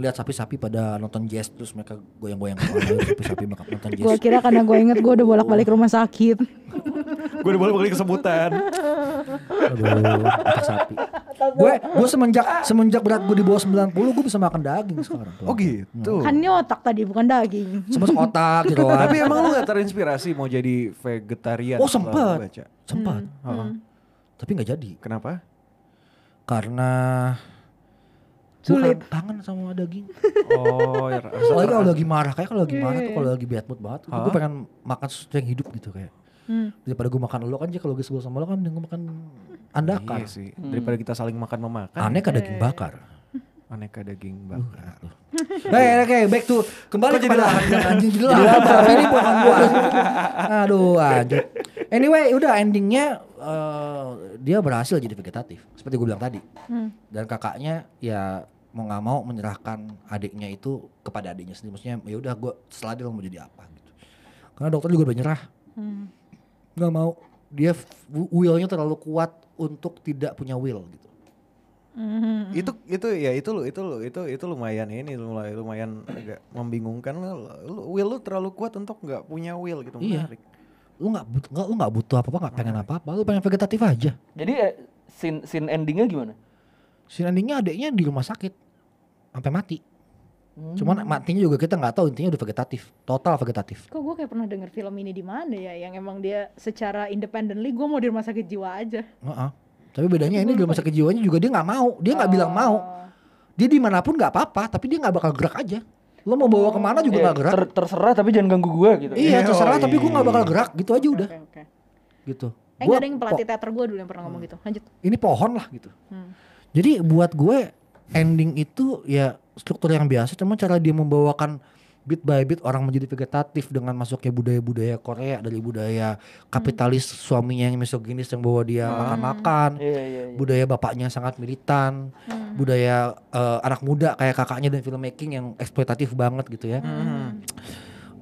[SPEAKER 2] Lihat sapi-sapi pada nonton jazz terus mereka goyang-goyang kepala Sapi-sapi makan nonton jazz
[SPEAKER 5] Gua kira karena gue inget gue udah bolak-balik rumah sakit.
[SPEAKER 1] Gua udah bolak-balik kesebutan.
[SPEAKER 2] Aduh otak sapi Gue gue semenjak semenjak berat gue di bawah 90 gue bisa makan daging sekarang
[SPEAKER 1] oh gitu.
[SPEAKER 5] Kan ini otak tadi bukan daging.
[SPEAKER 2] Sempat otak gitu
[SPEAKER 1] Tapi emang lu gak terinspirasi mau jadi vegetarian?
[SPEAKER 2] Oh,
[SPEAKER 1] setelah lu
[SPEAKER 2] sempet.
[SPEAKER 1] Baca.
[SPEAKER 2] Sempat
[SPEAKER 1] Heeh.
[SPEAKER 2] Tapi gak jadi
[SPEAKER 1] Kenapa?
[SPEAKER 2] Karena
[SPEAKER 5] Sulit.
[SPEAKER 2] Gue kangen sama daging
[SPEAKER 1] Oh, ya, rasa
[SPEAKER 2] Apalagi kalau
[SPEAKER 1] keras.
[SPEAKER 2] lagi marah Kayak kalau lagi marah tuh kalau lagi bad mood banget Gue
[SPEAKER 1] Hah?
[SPEAKER 2] pengen makan sesuatu yang hidup gitu kayak Daripada gue makan lo kan aja kalau gue sebel sama lo kan mending gue makan andakan
[SPEAKER 1] Iya sih. Daripada kita saling makan memakan,
[SPEAKER 2] Aneh kan daging bakar
[SPEAKER 1] aneka
[SPEAKER 2] Uh.
[SPEAKER 1] daging bakar.
[SPEAKER 2] Hey, oke, back to
[SPEAKER 1] Kok
[SPEAKER 2] kembali
[SPEAKER 1] jadi
[SPEAKER 2] kepada
[SPEAKER 1] lahan?
[SPEAKER 2] anjing jadi lahan. Tapi ini bukan gua. Aduh, anjing. Anyway, udah endingnya eh, dia berhasil jadi vegetatif seperti gue bilang tadi.
[SPEAKER 5] Hmm,
[SPEAKER 2] Dan kakaknya ya mau nggak mau menyerahkan adiknya itu kepada adiknya sendiri. Maksudnya ya udah
[SPEAKER 5] hmm,
[SPEAKER 2] gue setelah dia mau jadi apa gitu. Karena dokter juga udah nyerah. Nggak mau dia f- willnya terlalu kuat untuk tidak punya will gitu.
[SPEAKER 5] hmm.
[SPEAKER 2] Iya.
[SPEAKER 1] itu itu ya itu lu itu lu itu itu lumayan ini lumayan lumayan agak membingungkan lu, lu- will lu terlalu kuat untuk nggak punya will gitu
[SPEAKER 2] Iya.
[SPEAKER 1] menarik
[SPEAKER 2] Lu nggak butuh nggak lu nggak butuh apa apa nggak pengen apa apa lu pengen vegetatif aja.
[SPEAKER 4] Jadi eh, scene scene endingnya gimana?
[SPEAKER 2] Si endingnya adiknya di rumah sakit sampai mati.
[SPEAKER 4] Hmm.
[SPEAKER 2] Cuman matinya juga kita nggak tahu intinya udah vegetatif total vegetatif.
[SPEAKER 5] Kok gue kayak pernah denger film ini di mana ya yang emang dia secara independently gue mau di rumah sakit jiwa aja.
[SPEAKER 2] Heeh. Tapi bedanya ini di rumah sakit jiwanya juga dia nggak mau dia nggak bilang mau
[SPEAKER 5] Oh.
[SPEAKER 2] dia dimanapun nggak apa-apa tapi dia nggak bakal gerak aja. Lo mau bawa kemana juga
[SPEAKER 4] Eh,
[SPEAKER 2] nggak gerak.
[SPEAKER 4] ter- terserah tapi jangan ganggu gua gitu.
[SPEAKER 2] Iya
[SPEAKER 1] Yoi.
[SPEAKER 2] terserah tapi gue gak bakal gerak gitu aja udah
[SPEAKER 5] Oke, oke.
[SPEAKER 2] gitu.
[SPEAKER 5] Eh
[SPEAKER 2] Gua
[SPEAKER 5] gak ada yang pelatih teater gue dulu yang pernah ngomong gitu. Lanjut.
[SPEAKER 2] po- ini pohon lah gitu.
[SPEAKER 5] Hmm.
[SPEAKER 2] Jadi buat gue ending itu ya struktur yang biasa cuma cara dia membawakan bit by bit orang menjadi vegetatif dengan masuknya budaya-budaya Korea dari budaya kapitalis
[SPEAKER 5] Hmm.
[SPEAKER 2] suaminya yang misoginis yang bawa dia makan-makan
[SPEAKER 4] Iya iya iya.
[SPEAKER 2] budaya bapaknya sangat militan,
[SPEAKER 5] Hmm.
[SPEAKER 2] budaya eh, anak muda kayak kakaknya dan filmmaking yang eksploitatif banget gitu ya.
[SPEAKER 5] Hmm.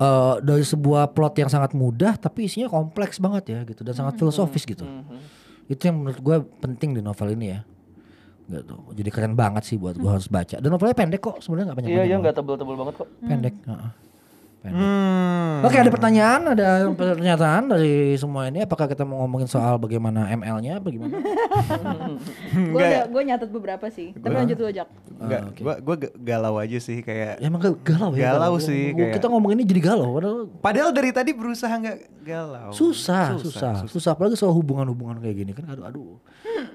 [SPEAKER 2] Eh, dari sebuah plot yang sangat mudah tapi isinya kompleks banget ya gitu dan sangat filosofis gitu.
[SPEAKER 4] Mhm.
[SPEAKER 2] Itu yang menurut gue penting di novel ini ya. Gitu. Jadi keren banget sih buat gue harus baca. Dan novelnya pendek kok sebenarnya nggak banyak.
[SPEAKER 4] Iya iya nggak tebel-tebel banget kok.
[SPEAKER 2] Pendek. heeh. Pendek.
[SPEAKER 1] Hmm.
[SPEAKER 2] Oke ada pertanyaan, ada pernyataan dari semua ini. Apakah kita mau ngomongin soal bagaimana ML-nya, apa gimana?
[SPEAKER 5] Gue Hmm.
[SPEAKER 1] Nggak ya?
[SPEAKER 5] gue nyatet beberapa sih. Tapi lanjut dulu Jack.
[SPEAKER 1] nggak
[SPEAKER 2] oke.
[SPEAKER 1] gua gua ga- galau aja sih kayak
[SPEAKER 2] Ya, emang gal- galau ya.
[SPEAKER 1] Galau sih, kayak-
[SPEAKER 2] Kita ngomong ini jadi galau. Padahal
[SPEAKER 1] padahal dari tadi berusaha nggak galau
[SPEAKER 2] susah, susah, susah, Apalagi soal hubungan-hubungan kayak gini kan, aduh, aduh.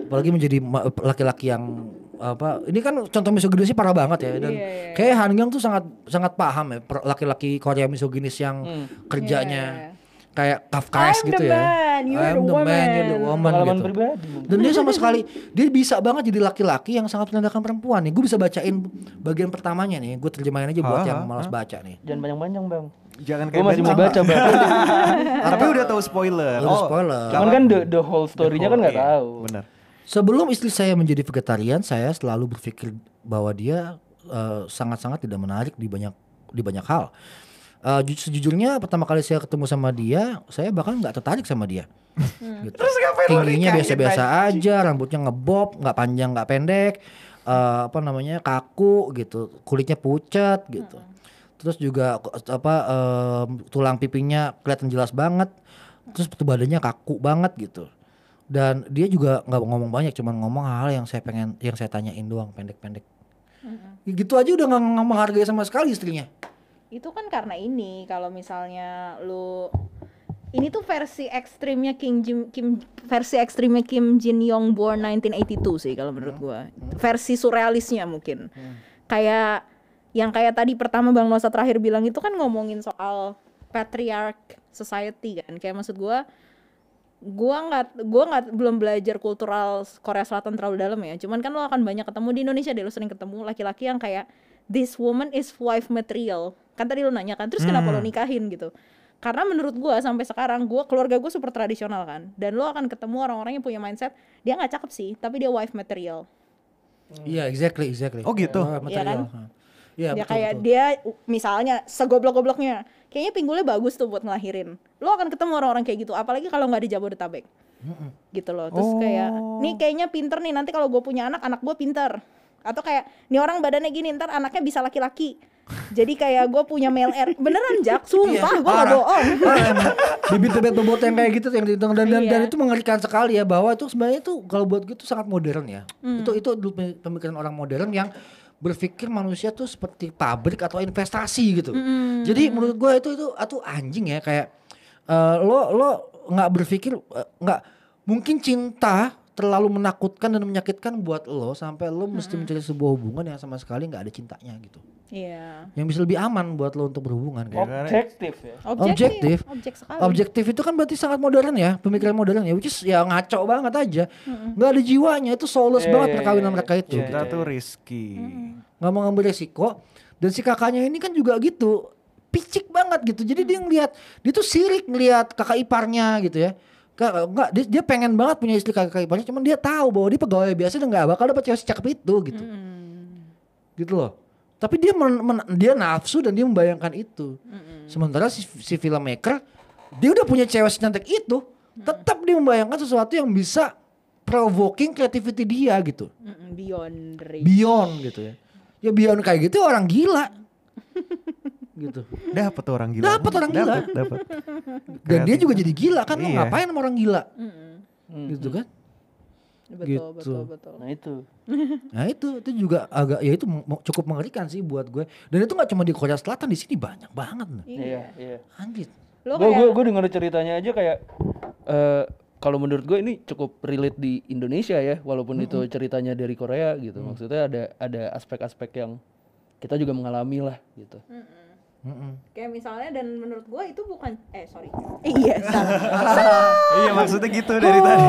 [SPEAKER 2] Apalagi menjadi ma- laki-laki yang apa? Ini kan contoh misoginis sih parah banget ya. Dan
[SPEAKER 5] Iya, iya.
[SPEAKER 2] kayak Han Gang tuh sangat sangat paham ya per- laki-laki Korea misoginis yang kerjanya
[SPEAKER 5] Iya,
[SPEAKER 2] kayak Kafkaes
[SPEAKER 5] I'm
[SPEAKER 2] gitu
[SPEAKER 5] the
[SPEAKER 2] ya.
[SPEAKER 5] man, you're
[SPEAKER 2] I'm
[SPEAKER 5] the
[SPEAKER 2] the man, you're the woman
[SPEAKER 4] Pengalaman
[SPEAKER 2] gitu.
[SPEAKER 4] pribadi. mungkin.
[SPEAKER 2] Dan dia sama sekali dia bisa banget jadi laki-laki yang sangat menandakan perempuan nih. Gue bisa bacain bagian pertamanya nih. Gue terjemahin aja buat
[SPEAKER 1] Ha,
[SPEAKER 2] yang
[SPEAKER 1] ha,
[SPEAKER 2] malas baca nih.
[SPEAKER 4] Jangan panjang-panjang bang.
[SPEAKER 1] jangan
[SPEAKER 4] Gue
[SPEAKER 1] kayak
[SPEAKER 4] masih mau
[SPEAKER 1] bentang.
[SPEAKER 4] baca bang.
[SPEAKER 1] tapi udah tahu spoiler
[SPEAKER 2] Udah spoiler.
[SPEAKER 4] Cuman kan the, the whole story-nya kan nggak
[SPEAKER 1] iya,
[SPEAKER 4] tahu.
[SPEAKER 1] benar
[SPEAKER 2] Sebelum istri saya menjadi vegetarian, saya selalu berpikir bahwa dia eh, sangat-sangat tidak menarik di banyak di banyak hal. Eh, ju- sejujurnya pertama kali saya ketemu sama dia, saya bahkan nggak tertarik sama dia. Gitu.
[SPEAKER 1] terus ngapain lu
[SPEAKER 2] Tingginya
[SPEAKER 1] nikahin
[SPEAKER 2] biasa-biasa
[SPEAKER 1] aja?
[SPEAKER 2] aja, rambutnya ngebob, nggak panjang nggak pendek, eh, apa namanya kaku gitu, kulitnya pucat gitu. Terus juga ko- apa eh, tulang pipinya kelihatan jelas banget, terus badannya kaku banget gitu dan dia juga nggak ngomong banyak cuman ngomong hal yang saya pengen yang saya tanyain doang pendek-pendek Ya gitu aja udah nggak nggak menghargai sama sekali istrinya
[SPEAKER 5] Itu kan karena ini kalau misalnya lu ini tuh versi ekstrimnya Kim Jin Kim versi ekstrimnya Kim Jin Yong born 1982 sih kalau menurut gua. Versi surrealisnya mungkin. Kayak yang kayak tadi pertama Bang Nosa terakhir bilang itu kan ngomongin soal patriarch society kan. Kayak maksud gua gua nggak gua nggak belum belajar kultural Korea Selatan terlalu dalam ya cuman kan lo akan banyak ketemu di Indonesia deh lo sering ketemu laki-laki yang kayak this woman is wife material kan tadi lo nanya kan terus kenapa lo nikahin gitu karena menurut gua sampai sekarang gua keluarga gua super tradisional kan dan lo akan ketemu orang-orang yang punya mindset dia nggak cakep sih tapi dia wife material
[SPEAKER 2] iya exactly exactly
[SPEAKER 1] Oh, gitu?
[SPEAKER 2] Wah, material. iya
[SPEAKER 5] dia
[SPEAKER 2] betul,
[SPEAKER 5] Ya kayak
[SPEAKER 2] betul.
[SPEAKER 5] dia u- misalnya segoblok-gobloknya kayaknya pinggulnya bagus tuh buat ngelahirin lo akan ketemu orang-orang kayak gitu apalagi kalau nggak di Jabodetabek gitu loh terus kayak
[SPEAKER 2] Oh.
[SPEAKER 5] nih kayaknya pinter nih nanti kalau gue punya anak anak gue pinter atau kayak nih orang badannya gini ntar anaknya bisa laki-laki jadi kayak gue punya male air beneran jak sumpah
[SPEAKER 2] Iya,
[SPEAKER 5] gue gak
[SPEAKER 2] parah.
[SPEAKER 5] bohong
[SPEAKER 2] Parah emang. bibit bibit bobot yang kayak gitu yang dihitung dan dan, dan
[SPEAKER 5] Iya.
[SPEAKER 2] itu mengerikan sekali ya bahwa itu sebenarnya itu kalau buat gue itu sangat modern ya itu itu dulu pem- pemikiran orang modern yang berpikir manusia tuh seperti pabrik atau investasi gitu jadi menurut gue itu itu itu anjing ya kayak eh, lo lo nggak berpikir eh, nggak mungkin cinta terlalu menakutkan dan menyakitkan buat lo sampai lo mesti mencari sebuah hubungan yang sama sekali nggak ada cintanya gitu
[SPEAKER 5] iya
[SPEAKER 2] yang bisa lebih aman buat lo untuk berhubungan
[SPEAKER 4] kan
[SPEAKER 2] kayak
[SPEAKER 4] Objektif ya.
[SPEAKER 5] objektif
[SPEAKER 2] Objektif.
[SPEAKER 5] objek sekali
[SPEAKER 2] Objektif itu kan berarti sangat modern ya, pemikiran modern ya, which is ya ngaco banget aja, nggak ada jiwanya, itu soulless
[SPEAKER 4] Iya,
[SPEAKER 2] banget
[SPEAKER 4] iya,
[SPEAKER 2] perkawinan
[SPEAKER 4] iya,
[SPEAKER 2] mereka itu,
[SPEAKER 4] iya.
[SPEAKER 1] kita tuh risky
[SPEAKER 2] nggak mau ngambil resiko. Dan si kakaknya ini kan juga gitu, picik banget gitu, jadi dia ngelihat dia tuh sirik ngelihat kakak iparnya gitu ya. Ka- Nggak, dia, dia pengen banget punya istri kakak iparnya, cuman dia tahu bahwa dia pegawai biasa dan nggak bakal dapat cewek secakep itu gitu,
[SPEAKER 5] Mm.
[SPEAKER 2] gitu loh. Tapi dia men- men- dia nafsu dan dia membayangkan itu. Sementara si, si filmmaker dia udah punya cewek secantik itu, tetap dia membayangkan sesuatu yang bisa provoking creativity dia gitu
[SPEAKER 5] Mm-mm, beyond reach.
[SPEAKER 2] beyond gitu ya ya beyond kayak gitu orang gila gitu
[SPEAKER 1] Dapat tuh orang gila.
[SPEAKER 2] Dapet orang gila.
[SPEAKER 1] Dapet, dapet.
[SPEAKER 2] dan dia juga jadi gila kan mau
[SPEAKER 1] Iya.
[SPEAKER 2] ngapain sama orang gila
[SPEAKER 5] Mm-mm.
[SPEAKER 4] Hmm.
[SPEAKER 2] gitu kan
[SPEAKER 5] Betul,
[SPEAKER 2] Gitu.
[SPEAKER 5] betul, betul.
[SPEAKER 4] Nah itu.
[SPEAKER 2] nah itu itu juga agak ya itu mo- cukup mengerikan sih buat gue dan itu nggak cuma di Korea Selatan di sini banyak banget nah.
[SPEAKER 4] Iya, iya.
[SPEAKER 2] anjir
[SPEAKER 5] Lo
[SPEAKER 4] Gue
[SPEAKER 5] kayak
[SPEAKER 4] gue gue denger ceritanya aja kayak eh kalau menurut gue ini cukup relate di Indonesia ya, walaupun itu ceritanya dari Korea gitu. Maksudnya ada ada aspek-aspek yang kita juga mengalami lah gitu.
[SPEAKER 2] Mm-mm.
[SPEAKER 5] kayak misalnya dan menurut gue itu bukan eh sorry. Iya, salah.
[SPEAKER 1] Iya maksudnya gitu
[SPEAKER 2] Oh.
[SPEAKER 1] dari tadi.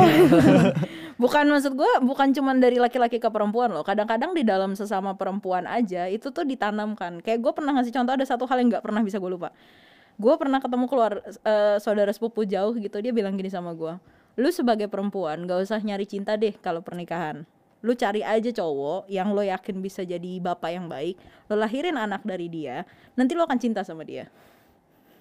[SPEAKER 5] bukan maksud gue bukan cuman dari laki-laki ke perempuan loh kadang-kadang di dalam sesama perempuan aja itu tuh ditanamkan kayak gue pernah ngasih contoh ada satu hal yang nggak pernah bisa gue lupa gue pernah ketemu keluar eh, saudara sepupu jauh gitu dia bilang gini sama gue lu sebagai perempuan gak usah nyari cinta deh kalau pernikahan lu cari aja cowok yang lo yakin bisa jadi bapak yang baik lo lahirin anak dari dia nanti lo akan cinta sama dia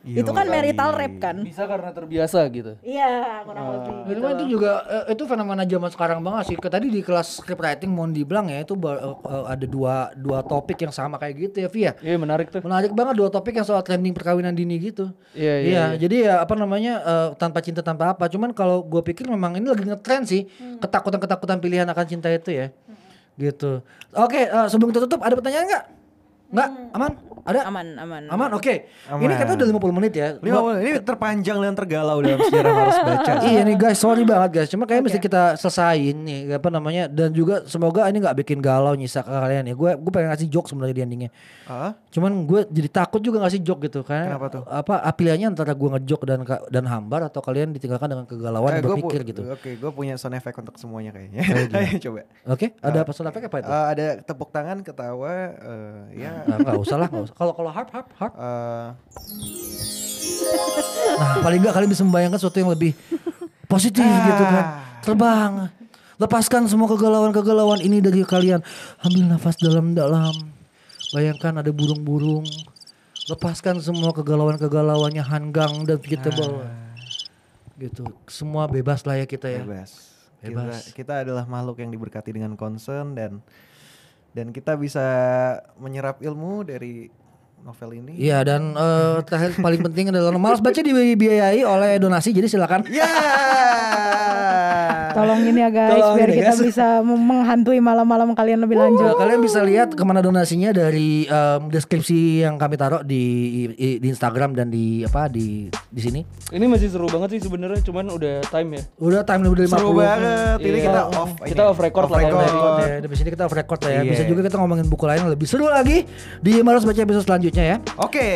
[SPEAKER 5] itu kan
[SPEAKER 1] Yoi.
[SPEAKER 5] marital rape kan
[SPEAKER 4] Bisa karena terbiasa gitu.
[SPEAKER 5] iya kurang
[SPEAKER 3] Oh.
[SPEAKER 5] lebih
[SPEAKER 2] Itu mah itu juga eh, itu fenomena zaman sekarang banget sih. Ke- Tadi di kelas scriptwriting mau dibilang ya itu ba- eh, eh, ada dua dua topik yang sama kayak gitu ya, Via.
[SPEAKER 4] Iya menarik tuh.
[SPEAKER 2] Menarik banget dua topik yang soal trending perkawinan dini gitu.
[SPEAKER 4] Iya, iya, iya.
[SPEAKER 2] jadi ya apa namanya eh, tanpa cinta tanpa apa. Cuman kalau gue pikir memang ini lagi ngetren sih ketakutan-ketakutan pilihan akan cinta itu ya. Gitu. Oke, eh, sebelum kita tutup ada pertanyaan nggak? Nggak? Aman? Ada? Aman.
[SPEAKER 5] aman aman
[SPEAKER 2] oke. Ini
[SPEAKER 1] Aman.
[SPEAKER 2] kita udah 50 menit ya.
[SPEAKER 1] Lima menit. Ini terpanjang dan tergalau dalam sejarah harus baca.
[SPEAKER 2] Iya nih guys, sorry banget guys. Cuma kayaknya mesti kita selesain nih apa namanya dan juga semoga ini nggak bikin galau nyisa ke kalian ya. Gue gue pengen ngasih joke sebenarnya di endingnya.
[SPEAKER 1] Hah?
[SPEAKER 2] Cuman gue jadi takut juga ngasih joke gitu karena
[SPEAKER 1] Kenapa tuh?
[SPEAKER 2] apa pilihannya antara gue ngejok dan ka- dan hambar atau kalian ditinggalkan dengan kegalauan
[SPEAKER 1] Kayak Eh, gua
[SPEAKER 2] berpikir
[SPEAKER 1] pu-
[SPEAKER 2] gitu.
[SPEAKER 1] Oke, gue punya sound effect untuk semuanya kayaknya.
[SPEAKER 2] Oh,
[SPEAKER 1] Ayo coba.
[SPEAKER 2] Oke, ada apa soal efek apa itu?
[SPEAKER 1] Eh, ada tepuk tangan, ketawa, eh, ya.
[SPEAKER 2] Nah, Nggak usah lah, nggak usah. Kalau kalau harp harp harp.
[SPEAKER 1] eh,
[SPEAKER 2] Nah, paling nggak kalian bisa membayangkan sesuatu yang lebih positif gitu kan. Terbang. Lepaskan semua kegalauan-kegalauan ini dari kalian. Ambil nafas dalam-dalam. Bayangkan ada burung-burung. Lepaskan semua kegalauan-kegalauannya hanggang dan kita bawa. Gitu. Semua bebas lah ya kita ya.
[SPEAKER 1] bebas.
[SPEAKER 2] Bebas.
[SPEAKER 1] Kita, kita adalah makhluk yang diberkati dengan concern dan dan kita bisa menyerap ilmu dari novel ini.
[SPEAKER 2] Iya dan eh, terakhir paling penting adalah malas baca dibiayai oleh donasi jadi silakan.
[SPEAKER 1] Ya.
[SPEAKER 3] Tolong ini ya guys,
[SPEAKER 2] Tolong
[SPEAKER 3] biar
[SPEAKER 2] ini,
[SPEAKER 3] kita
[SPEAKER 2] guys.
[SPEAKER 3] bisa mem- menghantui malam-malam kalian lebih
[SPEAKER 2] Nah,
[SPEAKER 3] lanjut.
[SPEAKER 2] kalian bisa lihat kemana donasinya dari em, deskripsi yang kami taruh di i- di Instagram dan di apa di di sini.
[SPEAKER 4] Ini masih seru banget sih sebenarnya, cuman udah time ya.
[SPEAKER 2] Udah time udah 50.
[SPEAKER 1] Seru banget. Ini
[SPEAKER 4] Iya.
[SPEAKER 1] kita off.
[SPEAKER 4] Kita
[SPEAKER 1] ini.
[SPEAKER 4] off record lah,
[SPEAKER 1] record.
[SPEAKER 4] off record
[SPEAKER 2] Ya, di sini kita off record lah ya.
[SPEAKER 1] Iya.
[SPEAKER 2] Bisa juga kita ngomongin buku lain yang lebih seru lagi di Maros Baca episode selanjutnya ya.
[SPEAKER 1] Oke,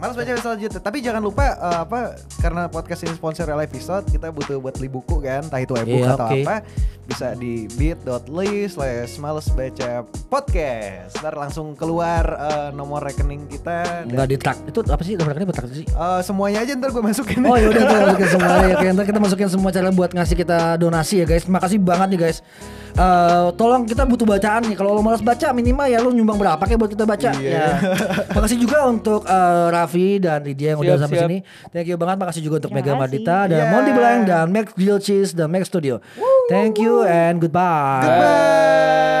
[SPEAKER 1] malas baca selanjutnya. Tapi jangan lupa eh, apa karena podcast ini sponsor oleh episode, kita butuh buat beli buku kan, entah itu ebook
[SPEAKER 2] Iya,
[SPEAKER 1] atau
[SPEAKER 2] oke.
[SPEAKER 1] apa, bisa di bit.ly slash malas baca podcast. Ntar langsung keluar eh, nomor rekening kita. Dan,
[SPEAKER 2] Enggak di tag. Itu apa sih? Nomor rekening apa tag sih?
[SPEAKER 1] eh, semuanya aja ntar gue masukin.
[SPEAKER 2] Oh yaudah kita masukin semua ya Oke, ntar kita masukin semua cara buat ngasih kita donasi ya guys Makasih banget nih guys Eh, Tolong kita butuh bacaan nih Kalau lo malas baca minimal ya lo nyumbang berapa kayak buat kita baca
[SPEAKER 1] Iya.
[SPEAKER 2] ya. Makasih juga untuk eh, Raffi dan Lydia yang udah
[SPEAKER 4] Siap,
[SPEAKER 2] sampai
[SPEAKER 4] siap.
[SPEAKER 2] sini Thank you banget Makasih juga untuk Mega
[SPEAKER 5] Terima kasih.
[SPEAKER 2] Mardita Dan
[SPEAKER 1] Iya.
[SPEAKER 2] Monty Blank dan Max Grilled Cheese dan Max Studio Thank you and goodbye
[SPEAKER 1] Bye.